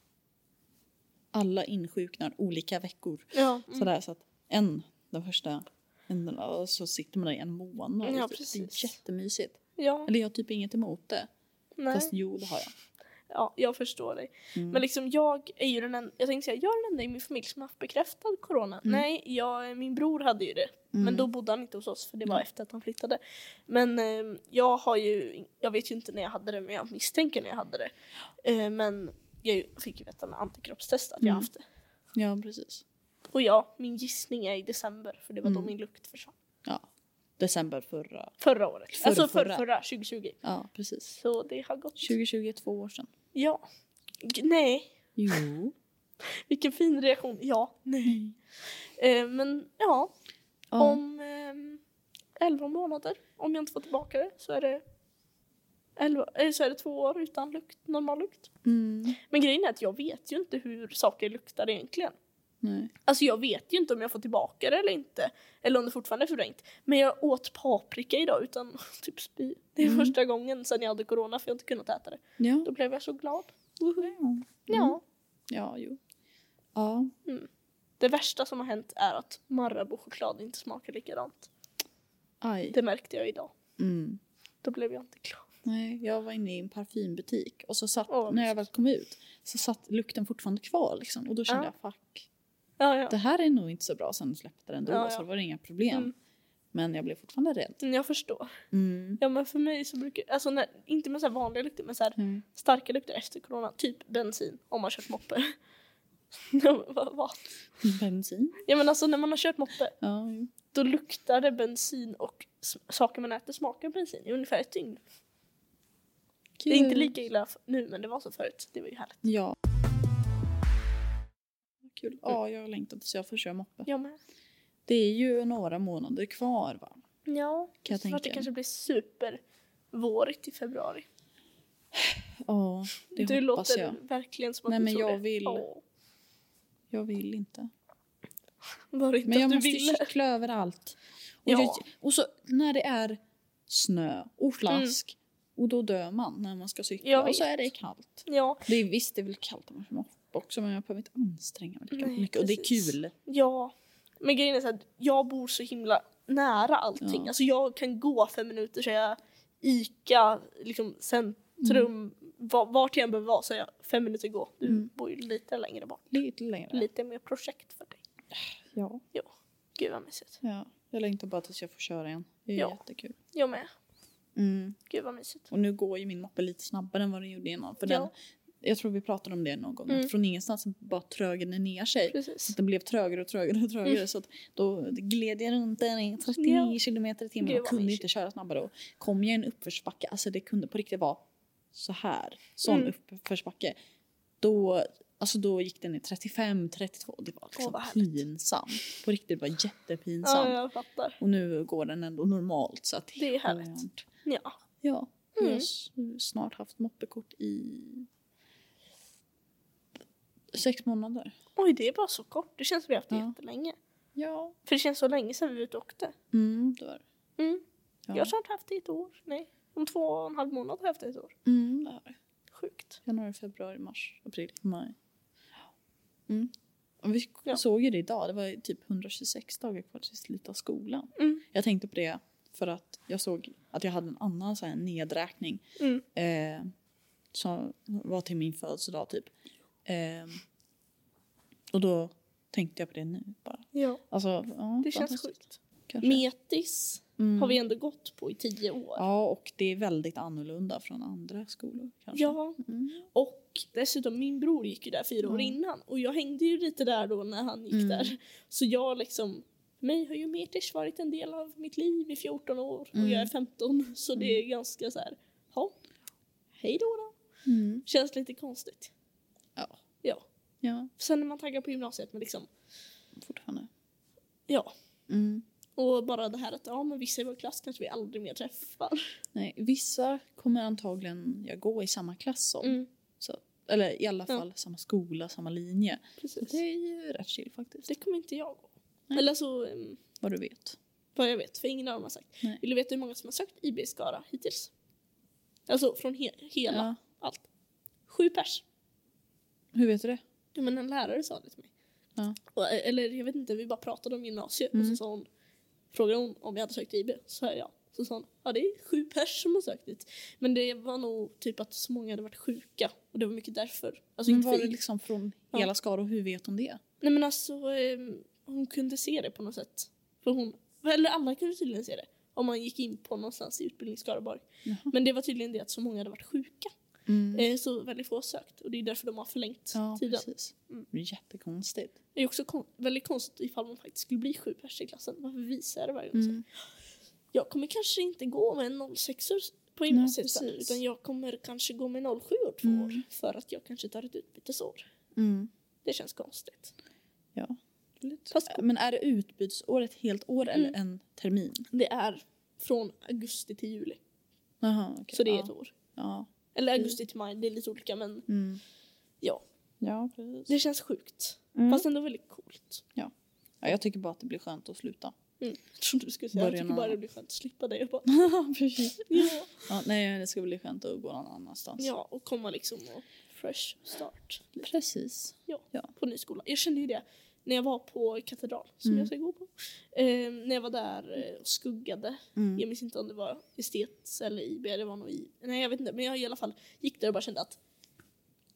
[SPEAKER 2] alla insjuknar olika veckor.
[SPEAKER 1] ja, mm.
[SPEAKER 2] Sådär så att en, den första änden och så sitter man där i en månad.
[SPEAKER 1] Ja,
[SPEAKER 2] Typ. det
[SPEAKER 1] precis.
[SPEAKER 2] är jättemysigt.
[SPEAKER 1] ja,
[SPEAKER 2] Eller jag har typ inget emot det.
[SPEAKER 1] nej.
[SPEAKER 2] Fast jo, det har jag.
[SPEAKER 1] ja, jag förstår dig.
[SPEAKER 2] Mm.
[SPEAKER 1] Men liksom jag är ju den enda, jag tänkte säga, jag är den enda i min familj som har haft bekräftad corona.
[SPEAKER 2] Mm.
[SPEAKER 1] Nej, jag, min bror hade ju det.
[SPEAKER 2] Mm.
[SPEAKER 1] Men då bodde han inte hos oss för det var
[SPEAKER 2] Nej.
[SPEAKER 1] efter att han flyttade. Men eh, jag har ju, jag vet ju inte när jag hade det men jag misstänker när jag hade det. Eh, men jag fick ju veta med antikroppstest att jag
[SPEAKER 2] Mm.
[SPEAKER 1] haft det.
[SPEAKER 2] Ja, precis.
[SPEAKER 1] Och ja, min gissning är i december för det var
[SPEAKER 2] Mm.
[SPEAKER 1] då min lukt försvann.
[SPEAKER 2] Ja. December förra.
[SPEAKER 1] Förra året.
[SPEAKER 2] Förra,
[SPEAKER 1] alltså förra,
[SPEAKER 2] förra.
[SPEAKER 1] förra. 2020.
[SPEAKER 2] Ja, precis.
[SPEAKER 1] Så det har gått.
[SPEAKER 2] 2020 är två år sedan.
[SPEAKER 1] Ja. G- nej.
[SPEAKER 2] Jo.
[SPEAKER 1] Vilken fin reaktion. Ja. Nej. Eh, men ja, Om ehm, 11 månader, om jag inte får tillbaka det, så är det, 11, eh, så är det två år utan lukt, normal lukt.
[SPEAKER 2] Mm.
[SPEAKER 1] Men grejen är att jag vet ju inte hur saker luktar egentligen.
[SPEAKER 2] Nej.
[SPEAKER 1] Alltså jag vet ju inte om jag får tillbaka det eller inte. Eller om det fortfarande är förvrängt. Men jag åt paprika idag utan typ spy. Det är
[SPEAKER 2] Mm.
[SPEAKER 1] första gången sedan jag hade corona för jag har inte kunnat äta det.
[SPEAKER 2] Ja.
[SPEAKER 1] Då blev jag så glad.
[SPEAKER 2] Mm.
[SPEAKER 1] Ja.
[SPEAKER 2] Ja, jo. Ja.
[SPEAKER 1] Det värsta som har hänt är att Marabou-choklad inte smakar likadant.
[SPEAKER 2] Aj.
[SPEAKER 1] Det märkte jag idag.
[SPEAKER 2] Mm.
[SPEAKER 1] Då blev jag inte glad.
[SPEAKER 2] Nej, jag var inne i en parfymbutik och så satt,
[SPEAKER 1] Åh, vad
[SPEAKER 2] när jag väl kom ut så satt lukten fortfarande kvar liksom. Och då kände
[SPEAKER 1] Ja.
[SPEAKER 2] jag fuck,
[SPEAKER 1] Ja, ja.
[SPEAKER 2] det här är nog inte så bra. Sen släppte den då
[SPEAKER 1] Ja, ja.
[SPEAKER 2] så det var inga problem.
[SPEAKER 1] Mm.
[SPEAKER 2] Men jag blev fortfarande rädd.
[SPEAKER 1] Jag förstår. Ja men för mig så brukar, alltså när, inte med så här vanliga lukter men så här
[SPEAKER 2] Mm.
[SPEAKER 1] starka lukter efter corona, typ bensin om man kört moppe. Ja, men vad- vad?
[SPEAKER 2] Mm. Bensin.
[SPEAKER 1] ja men alltså när man har kört moppe
[SPEAKER 2] Ja, jo.
[SPEAKER 1] då luktar det bensin och s- saker man äter smakar bensin i ungefär ett dygn. Det är inte
[SPEAKER 2] Kul.
[SPEAKER 1] lika illa f- nu men det var så förut, det var ju härligt.
[SPEAKER 2] Ja. Kul. Ja, jag har längtat tills jag får köra moppe.
[SPEAKER 1] Jag med.
[SPEAKER 2] Det är ju några månader kvar va?
[SPEAKER 1] Ja,
[SPEAKER 2] Kan jag
[SPEAKER 1] så att det
[SPEAKER 2] tänka.
[SPEAKER 1] kanske blir supervårigt i februari.
[SPEAKER 2] Ja, det
[SPEAKER 1] du
[SPEAKER 2] hoppas
[SPEAKER 1] låter
[SPEAKER 2] jag.
[SPEAKER 1] verkligen som att
[SPEAKER 2] Nej,
[SPEAKER 1] du
[SPEAKER 2] men
[SPEAKER 1] tror
[SPEAKER 2] jag
[SPEAKER 1] det.
[SPEAKER 2] vill.
[SPEAKER 1] Åh,
[SPEAKER 2] Jag vill inte.
[SPEAKER 1] var det inte
[SPEAKER 2] Men jag
[SPEAKER 1] att du
[SPEAKER 2] måste
[SPEAKER 1] ville?
[SPEAKER 2] cykla överallt. Och,
[SPEAKER 1] Ja. Mm.
[SPEAKER 2] jag, och så när det är snö och slask och då dör man när man ska
[SPEAKER 1] Jag
[SPEAKER 2] cykla och så
[SPEAKER 1] vet.
[SPEAKER 2] är det kallt.
[SPEAKER 1] Ja,
[SPEAKER 2] Det är, visst, det är väl kallt om man kör moppe också men jag behöver inte anstränga mig lika
[SPEAKER 1] Nej,
[SPEAKER 2] mycket och det är
[SPEAKER 1] precis.
[SPEAKER 2] kul.
[SPEAKER 1] Ja, men grejen är så här, jag bor så himla nära allting.
[SPEAKER 2] Ja.
[SPEAKER 1] Alltså jag kan gå fem minuter så är jag Ica, liksom centrum, va- vart jag än behöver vara så är jag fem minuter gå. Du
[SPEAKER 2] Mm.
[SPEAKER 1] bor ju lite längre bort.
[SPEAKER 2] Lite längre.
[SPEAKER 1] Lite mer projekt för dig.
[SPEAKER 2] Ja.
[SPEAKER 1] Gud vad mysigt.
[SPEAKER 2] ja. Jag längtar bara tills jag får köra igen. Det är
[SPEAKER 1] Ja.
[SPEAKER 2] jättekul.
[SPEAKER 1] Jag med.
[SPEAKER 2] Mm.
[SPEAKER 1] Gud vad mysigt.
[SPEAKER 2] Och nu går ju min moppe lite snabbare än vad den gjorde innan. För
[SPEAKER 1] Ja.
[SPEAKER 2] den Jag tror vi pratade om det någon gång.
[SPEAKER 1] Mm.
[SPEAKER 2] Att från ingenstans bara trögade ner sig.
[SPEAKER 1] Precis.
[SPEAKER 2] Så att den blev trögare och trögare och trögare.
[SPEAKER 1] Mm.
[SPEAKER 2] Så att då gled jag runt där i 39
[SPEAKER 1] Ja.
[SPEAKER 2] kilometer i timmen
[SPEAKER 1] Gud,
[SPEAKER 2] och
[SPEAKER 1] vad
[SPEAKER 2] kunde
[SPEAKER 1] mysigt.
[SPEAKER 2] inte köra snabbare. Och kom jag i en uppförsbacke, alltså det kunde på riktigt vara så här, sån
[SPEAKER 1] Mm.
[SPEAKER 2] uppförsbacke. Då, alltså då gick den i 35, 32. Det var liksom
[SPEAKER 1] vad härligt.
[SPEAKER 2] pinsamt. På riktigt, det var jättepinsamt.
[SPEAKER 1] Ja, jag fattar.
[SPEAKER 2] Och nu går den ändå normalt. Så att
[SPEAKER 1] Det är härligt.
[SPEAKER 2] skönt.
[SPEAKER 1] Ja.
[SPEAKER 2] Ja. Jag
[SPEAKER 1] Mm.
[SPEAKER 2] har s- snart haft moppekort i sex månader.
[SPEAKER 1] Oj, det är bara så kort. Det känns som vi har haft det
[SPEAKER 2] Ja.
[SPEAKER 1] jättelänge.
[SPEAKER 2] Ja.
[SPEAKER 1] För det känns så länge sedan vi var ute och åkte.
[SPEAKER 2] Mm, det var det.
[SPEAKER 1] Mm.
[SPEAKER 2] ja.
[SPEAKER 1] Jag har snart haft det i ett år. Nej, om två och en halv månad har jag haft det i ett år.
[SPEAKER 2] Mm, det har det.
[SPEAKER 1] Sjukt.
[SPEAKER 2] Januari, februari, mars, april, maj. Mm. Och vi
[SPEAKER 1] Ja.
[SPEAKER 2] såg ju det idag. Det var ju typ 126 dagar kvar till slutet av skolan.
[SPEAKER 1] Mm.
[SPEAKER 2] Jag tänkte på det för att jag såg att jag hade en annan så här nedräkning
[SPEAKER 1] Mm.
[SPEAKER 2] eh, som var till min födelsedag typ. Eh, och då tänkte jag på det nu bara.
[SPEAKER 1] Ja,
[SPEAKER 2] Alltså, ja,
[SPEAKER 1] det känns
[SPEAKER 2] fantastiskt,
[SPEAKER 1] sjukt.
[SPEAKER 2] kanske.
[SPEAKER 1] Metis
[SPEAKER 2] Mm.
[SPEAKER 1] har vi ändå gått på i tio år.
[SPEAKER 2] Ja, och det är väldigt annorlunda från andra skolor kanske.
[SPEAKER 1] Ja,
[SPEAKER 2] Mm.
[SPEAKER 1] och dessutom min bror gick ju där fyra år
[SPEAKER 2] Mm.
[SPEAKER 1] innan och jag hängde ju lite där då när han gick
[SPEAKER 2] Mm.
[SPEAKER 1] där. Så jag liksom, för mig har ju Metis varit en del av mitt liv i 14 år
[SPEAKER 2] Mm.
[SPEAKER 1] och jag är 15 så det är ganska så här, ja, hej då då.
[SPEAKER 2] Mm.
[SPEAKER 1] Känns lite konstigt.
[SPEAKER 2] Ja.
[SPEAKER 1] Ja.
[SPEAKER 2] Ja,
[SPEAKER 1] Sen är man taggad på gymnasiet men liksom,
[SPEAKER 2] fortfarande.
[SPEAKER 1] ja.
[SPEAKER 2] Mm.
[SPEAKER 1] Och bara det här att ja men vissa i vår klass kanske vi aldrig mer träffar.
[SPEAKER 2] Nej, vissa kommer antagligen jag gå i samma klass som.
[SPEAKER 1] Mm,
[SPEAKER 2] Så, eller i alla
[SPEAKER 1] Ja.
[SPEAKER 2] fall samma skola, samma linje. Så
[SPEAKER 1] precis.
[SPEAKER 2] det är ju rätt chill faktiskt.
[SPEAKER 1] Det kommer inte jag gå.
[SPEAKER 2] Nej.
[SPEAKER 1] Eller så, ehm,
[SPEAKER 2] Vad du vet.
[SPEAKER 1] vad jag vet, för ingen av dem har sagt.
[SPEAKER 2] Nej.
[SPEAKER 1] Vill du veta hur många som har sökt IB i Skara hittills? Alltså från he hela,
[SPEAKER 2] Ja.
[SPEAKER 1] allt. Sju pers.
[SPEAKER 2] Hur vet du det?
[SPEAKER 1] Ja, men en lärare sa det till mig.
[SPEAKER 2] Ja.
[SPEAKER 1] Och, eh, eller jag vet inte, vi bara pratade om gymnasiet och
[SPEAKER 2] Mm.
[SPEAKER 1] så sa hon, frågade hon om jag hade sökt IB, så sa jag ja. Så sa hon, ja det är sju pers som har sökt dit. Men det var nog typ att så många hade varit sjuka och det var mycket därför. Alltså
[SPEAKER 2] Men
[SPEAKER 1] inte
[SPEAKER 2] var
[SPEAKER 1] för
[SPEAKER 2] det
[SPEAKER 1] IB.
[SPEAKER 2] liksom från
[SPEAKER 1] Ja.
[SPEAKER 2] hela Skara och hur vet hon det?
[SPEAKER 1] Nej men alltså, ehm, hon kunde se det på något sätt. För hon, eller alla kunde tydligen se det. Om man gick in på någonstans i utbildning i Skaraborg.
[SPEAKER 2] Jaha.
[SPEAKER 1] Men det var tydligen det att så många hade varit sjuka.
[SPEAKER 2] Mm.
[SPEAKER 1] Eh, så väldigt få sökt. Och det är därför de har förlängt
[SPEAKER 2] Ja,
[SPEAKER 1] tiden.
[SPEAKER 2] precis.
[SPEAKER 1] Mm.
[SPEAKER 2] Det är jättekonstigt.
[SPEAKER 1] Det är också kon- väldigt konstigt ifall man faktiskt skulle bli sju pers i klassen. Varför visar jag det varje gång?
[SPEAKER 2] Mm.
[SPEAKER 1] Jag kommer kanske inte gå med en 06 på
[SPEAKER 2] Nej,
[SPEAKER 1] gymnasiet sen,
[SPEAKER 2] precis.
[SPEAKER 1] utan jag kommer kanske gå med 07 år två
[SPEAKER 2] Mm.
[SPEAKER 1] år för att jag kanske tar ett utbytesår.
[SPEAKER 2] Mm.
[SPEAKER 1] Det känns konstigt.
[SPEAKER 2] Fast, men är det utbytesår ett helt år eller
[SPEAKER 1] Mm.
[SPEAKER 2] en termin?
[SPEAKER 1] Det är från augusti till juli,
[SPEAKER 2] Jaha, okej.
[SPEAKER 1] så det är
[SPEAKER 2] ja. Mm.
[SPEAKER 1] ett år.
[SPEAKER 2] Ja.
[SPEAKER 1] Eller augusti till maj, det är lite olika men
[SPEAKER 2] Mm.
[SPEAKER 1] ja.
[SPEAKER 2] Ja, precis.
[SPEAKER 1] Det känns sjukt.
[SPEAKER 2] Mm.
[SPEAKER 1] Fast ändå väldigt coolt.
[SPEAKER 2] Ja, jag tycker bara att det blir skönt att sluta.
[SPEAKER 1] Mm. Jag trodde du skulle säga jag
[SPEAKER 2] Början
[SPEAKER 1] tycker bara
[SPEAKER 2] av-
[SPEAKER 1] det blir skönt att slippa dig. Jag bara,
[SPEAKER 2] precis.
[SPEAKER 1] ja.
[SPEAKER 2] Ja, nej, det ska bli skönt att gå någon annanstans.
[SPEAKER 1] ja, och komma liksom och fresh start
[SPEAKER 2] Precis.
[SPEAKER 1] på ny skola. Jag kände ju det när jag var på katedral som
[SPEAKER 2] Mm.
[SPEAKER 1] jag ska gå på. Eh, när jag var där eh, och skuggade.
[SPEAKER 2] Mm.
[SPEAKER 1] Jag minns inte om det var estet eller IB, det var nog I. Nej jag vet inte men jag i alla fall gick där och bara kände att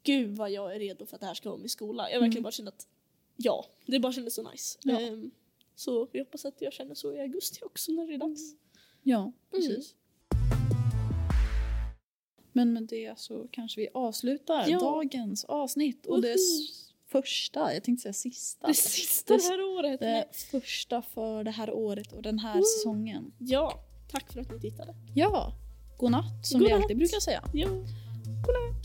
[SPEAKER 1] gud vad jag är redo för att det här ska vara min skola. Jag verkligen
[SPEAKER 2] Mm.
[SPEAKER 1] bara kände att ja, det bara kändes så nice.
[SPEAKER 2] Ja.
[SPEAKER 1] Ehm, så jag hoppas att jag känner så i augusti också när det är dags.
[SPEAKER 2] Mm, Ja, Mm. precis. Men med det så kanske vi avslutar
[SPEAKER 1] Ja.
[SPEAKER 2] dagens avsnitt och det s- första, jag tänkte säga sista.
[SPEAKER 1] Det sista det
[SPEAKER 2] Det-
[SPEAKER 1] här året.
[SPEAKER 2] Det första för det här året och den här
[SPEAKER 1] Woo.
[SPEAKER 2] säsongen.
[SPEAKER 1] Ja, tack för att ni tittade.
[SPEAKER 2] Ja, god natt som vi
[SPEAKER 1] Godnatt.
[SPEAKER 2] alltid brukar säga.
[SPEAKER 1] Jo.
[SPEAKER 2] God natt.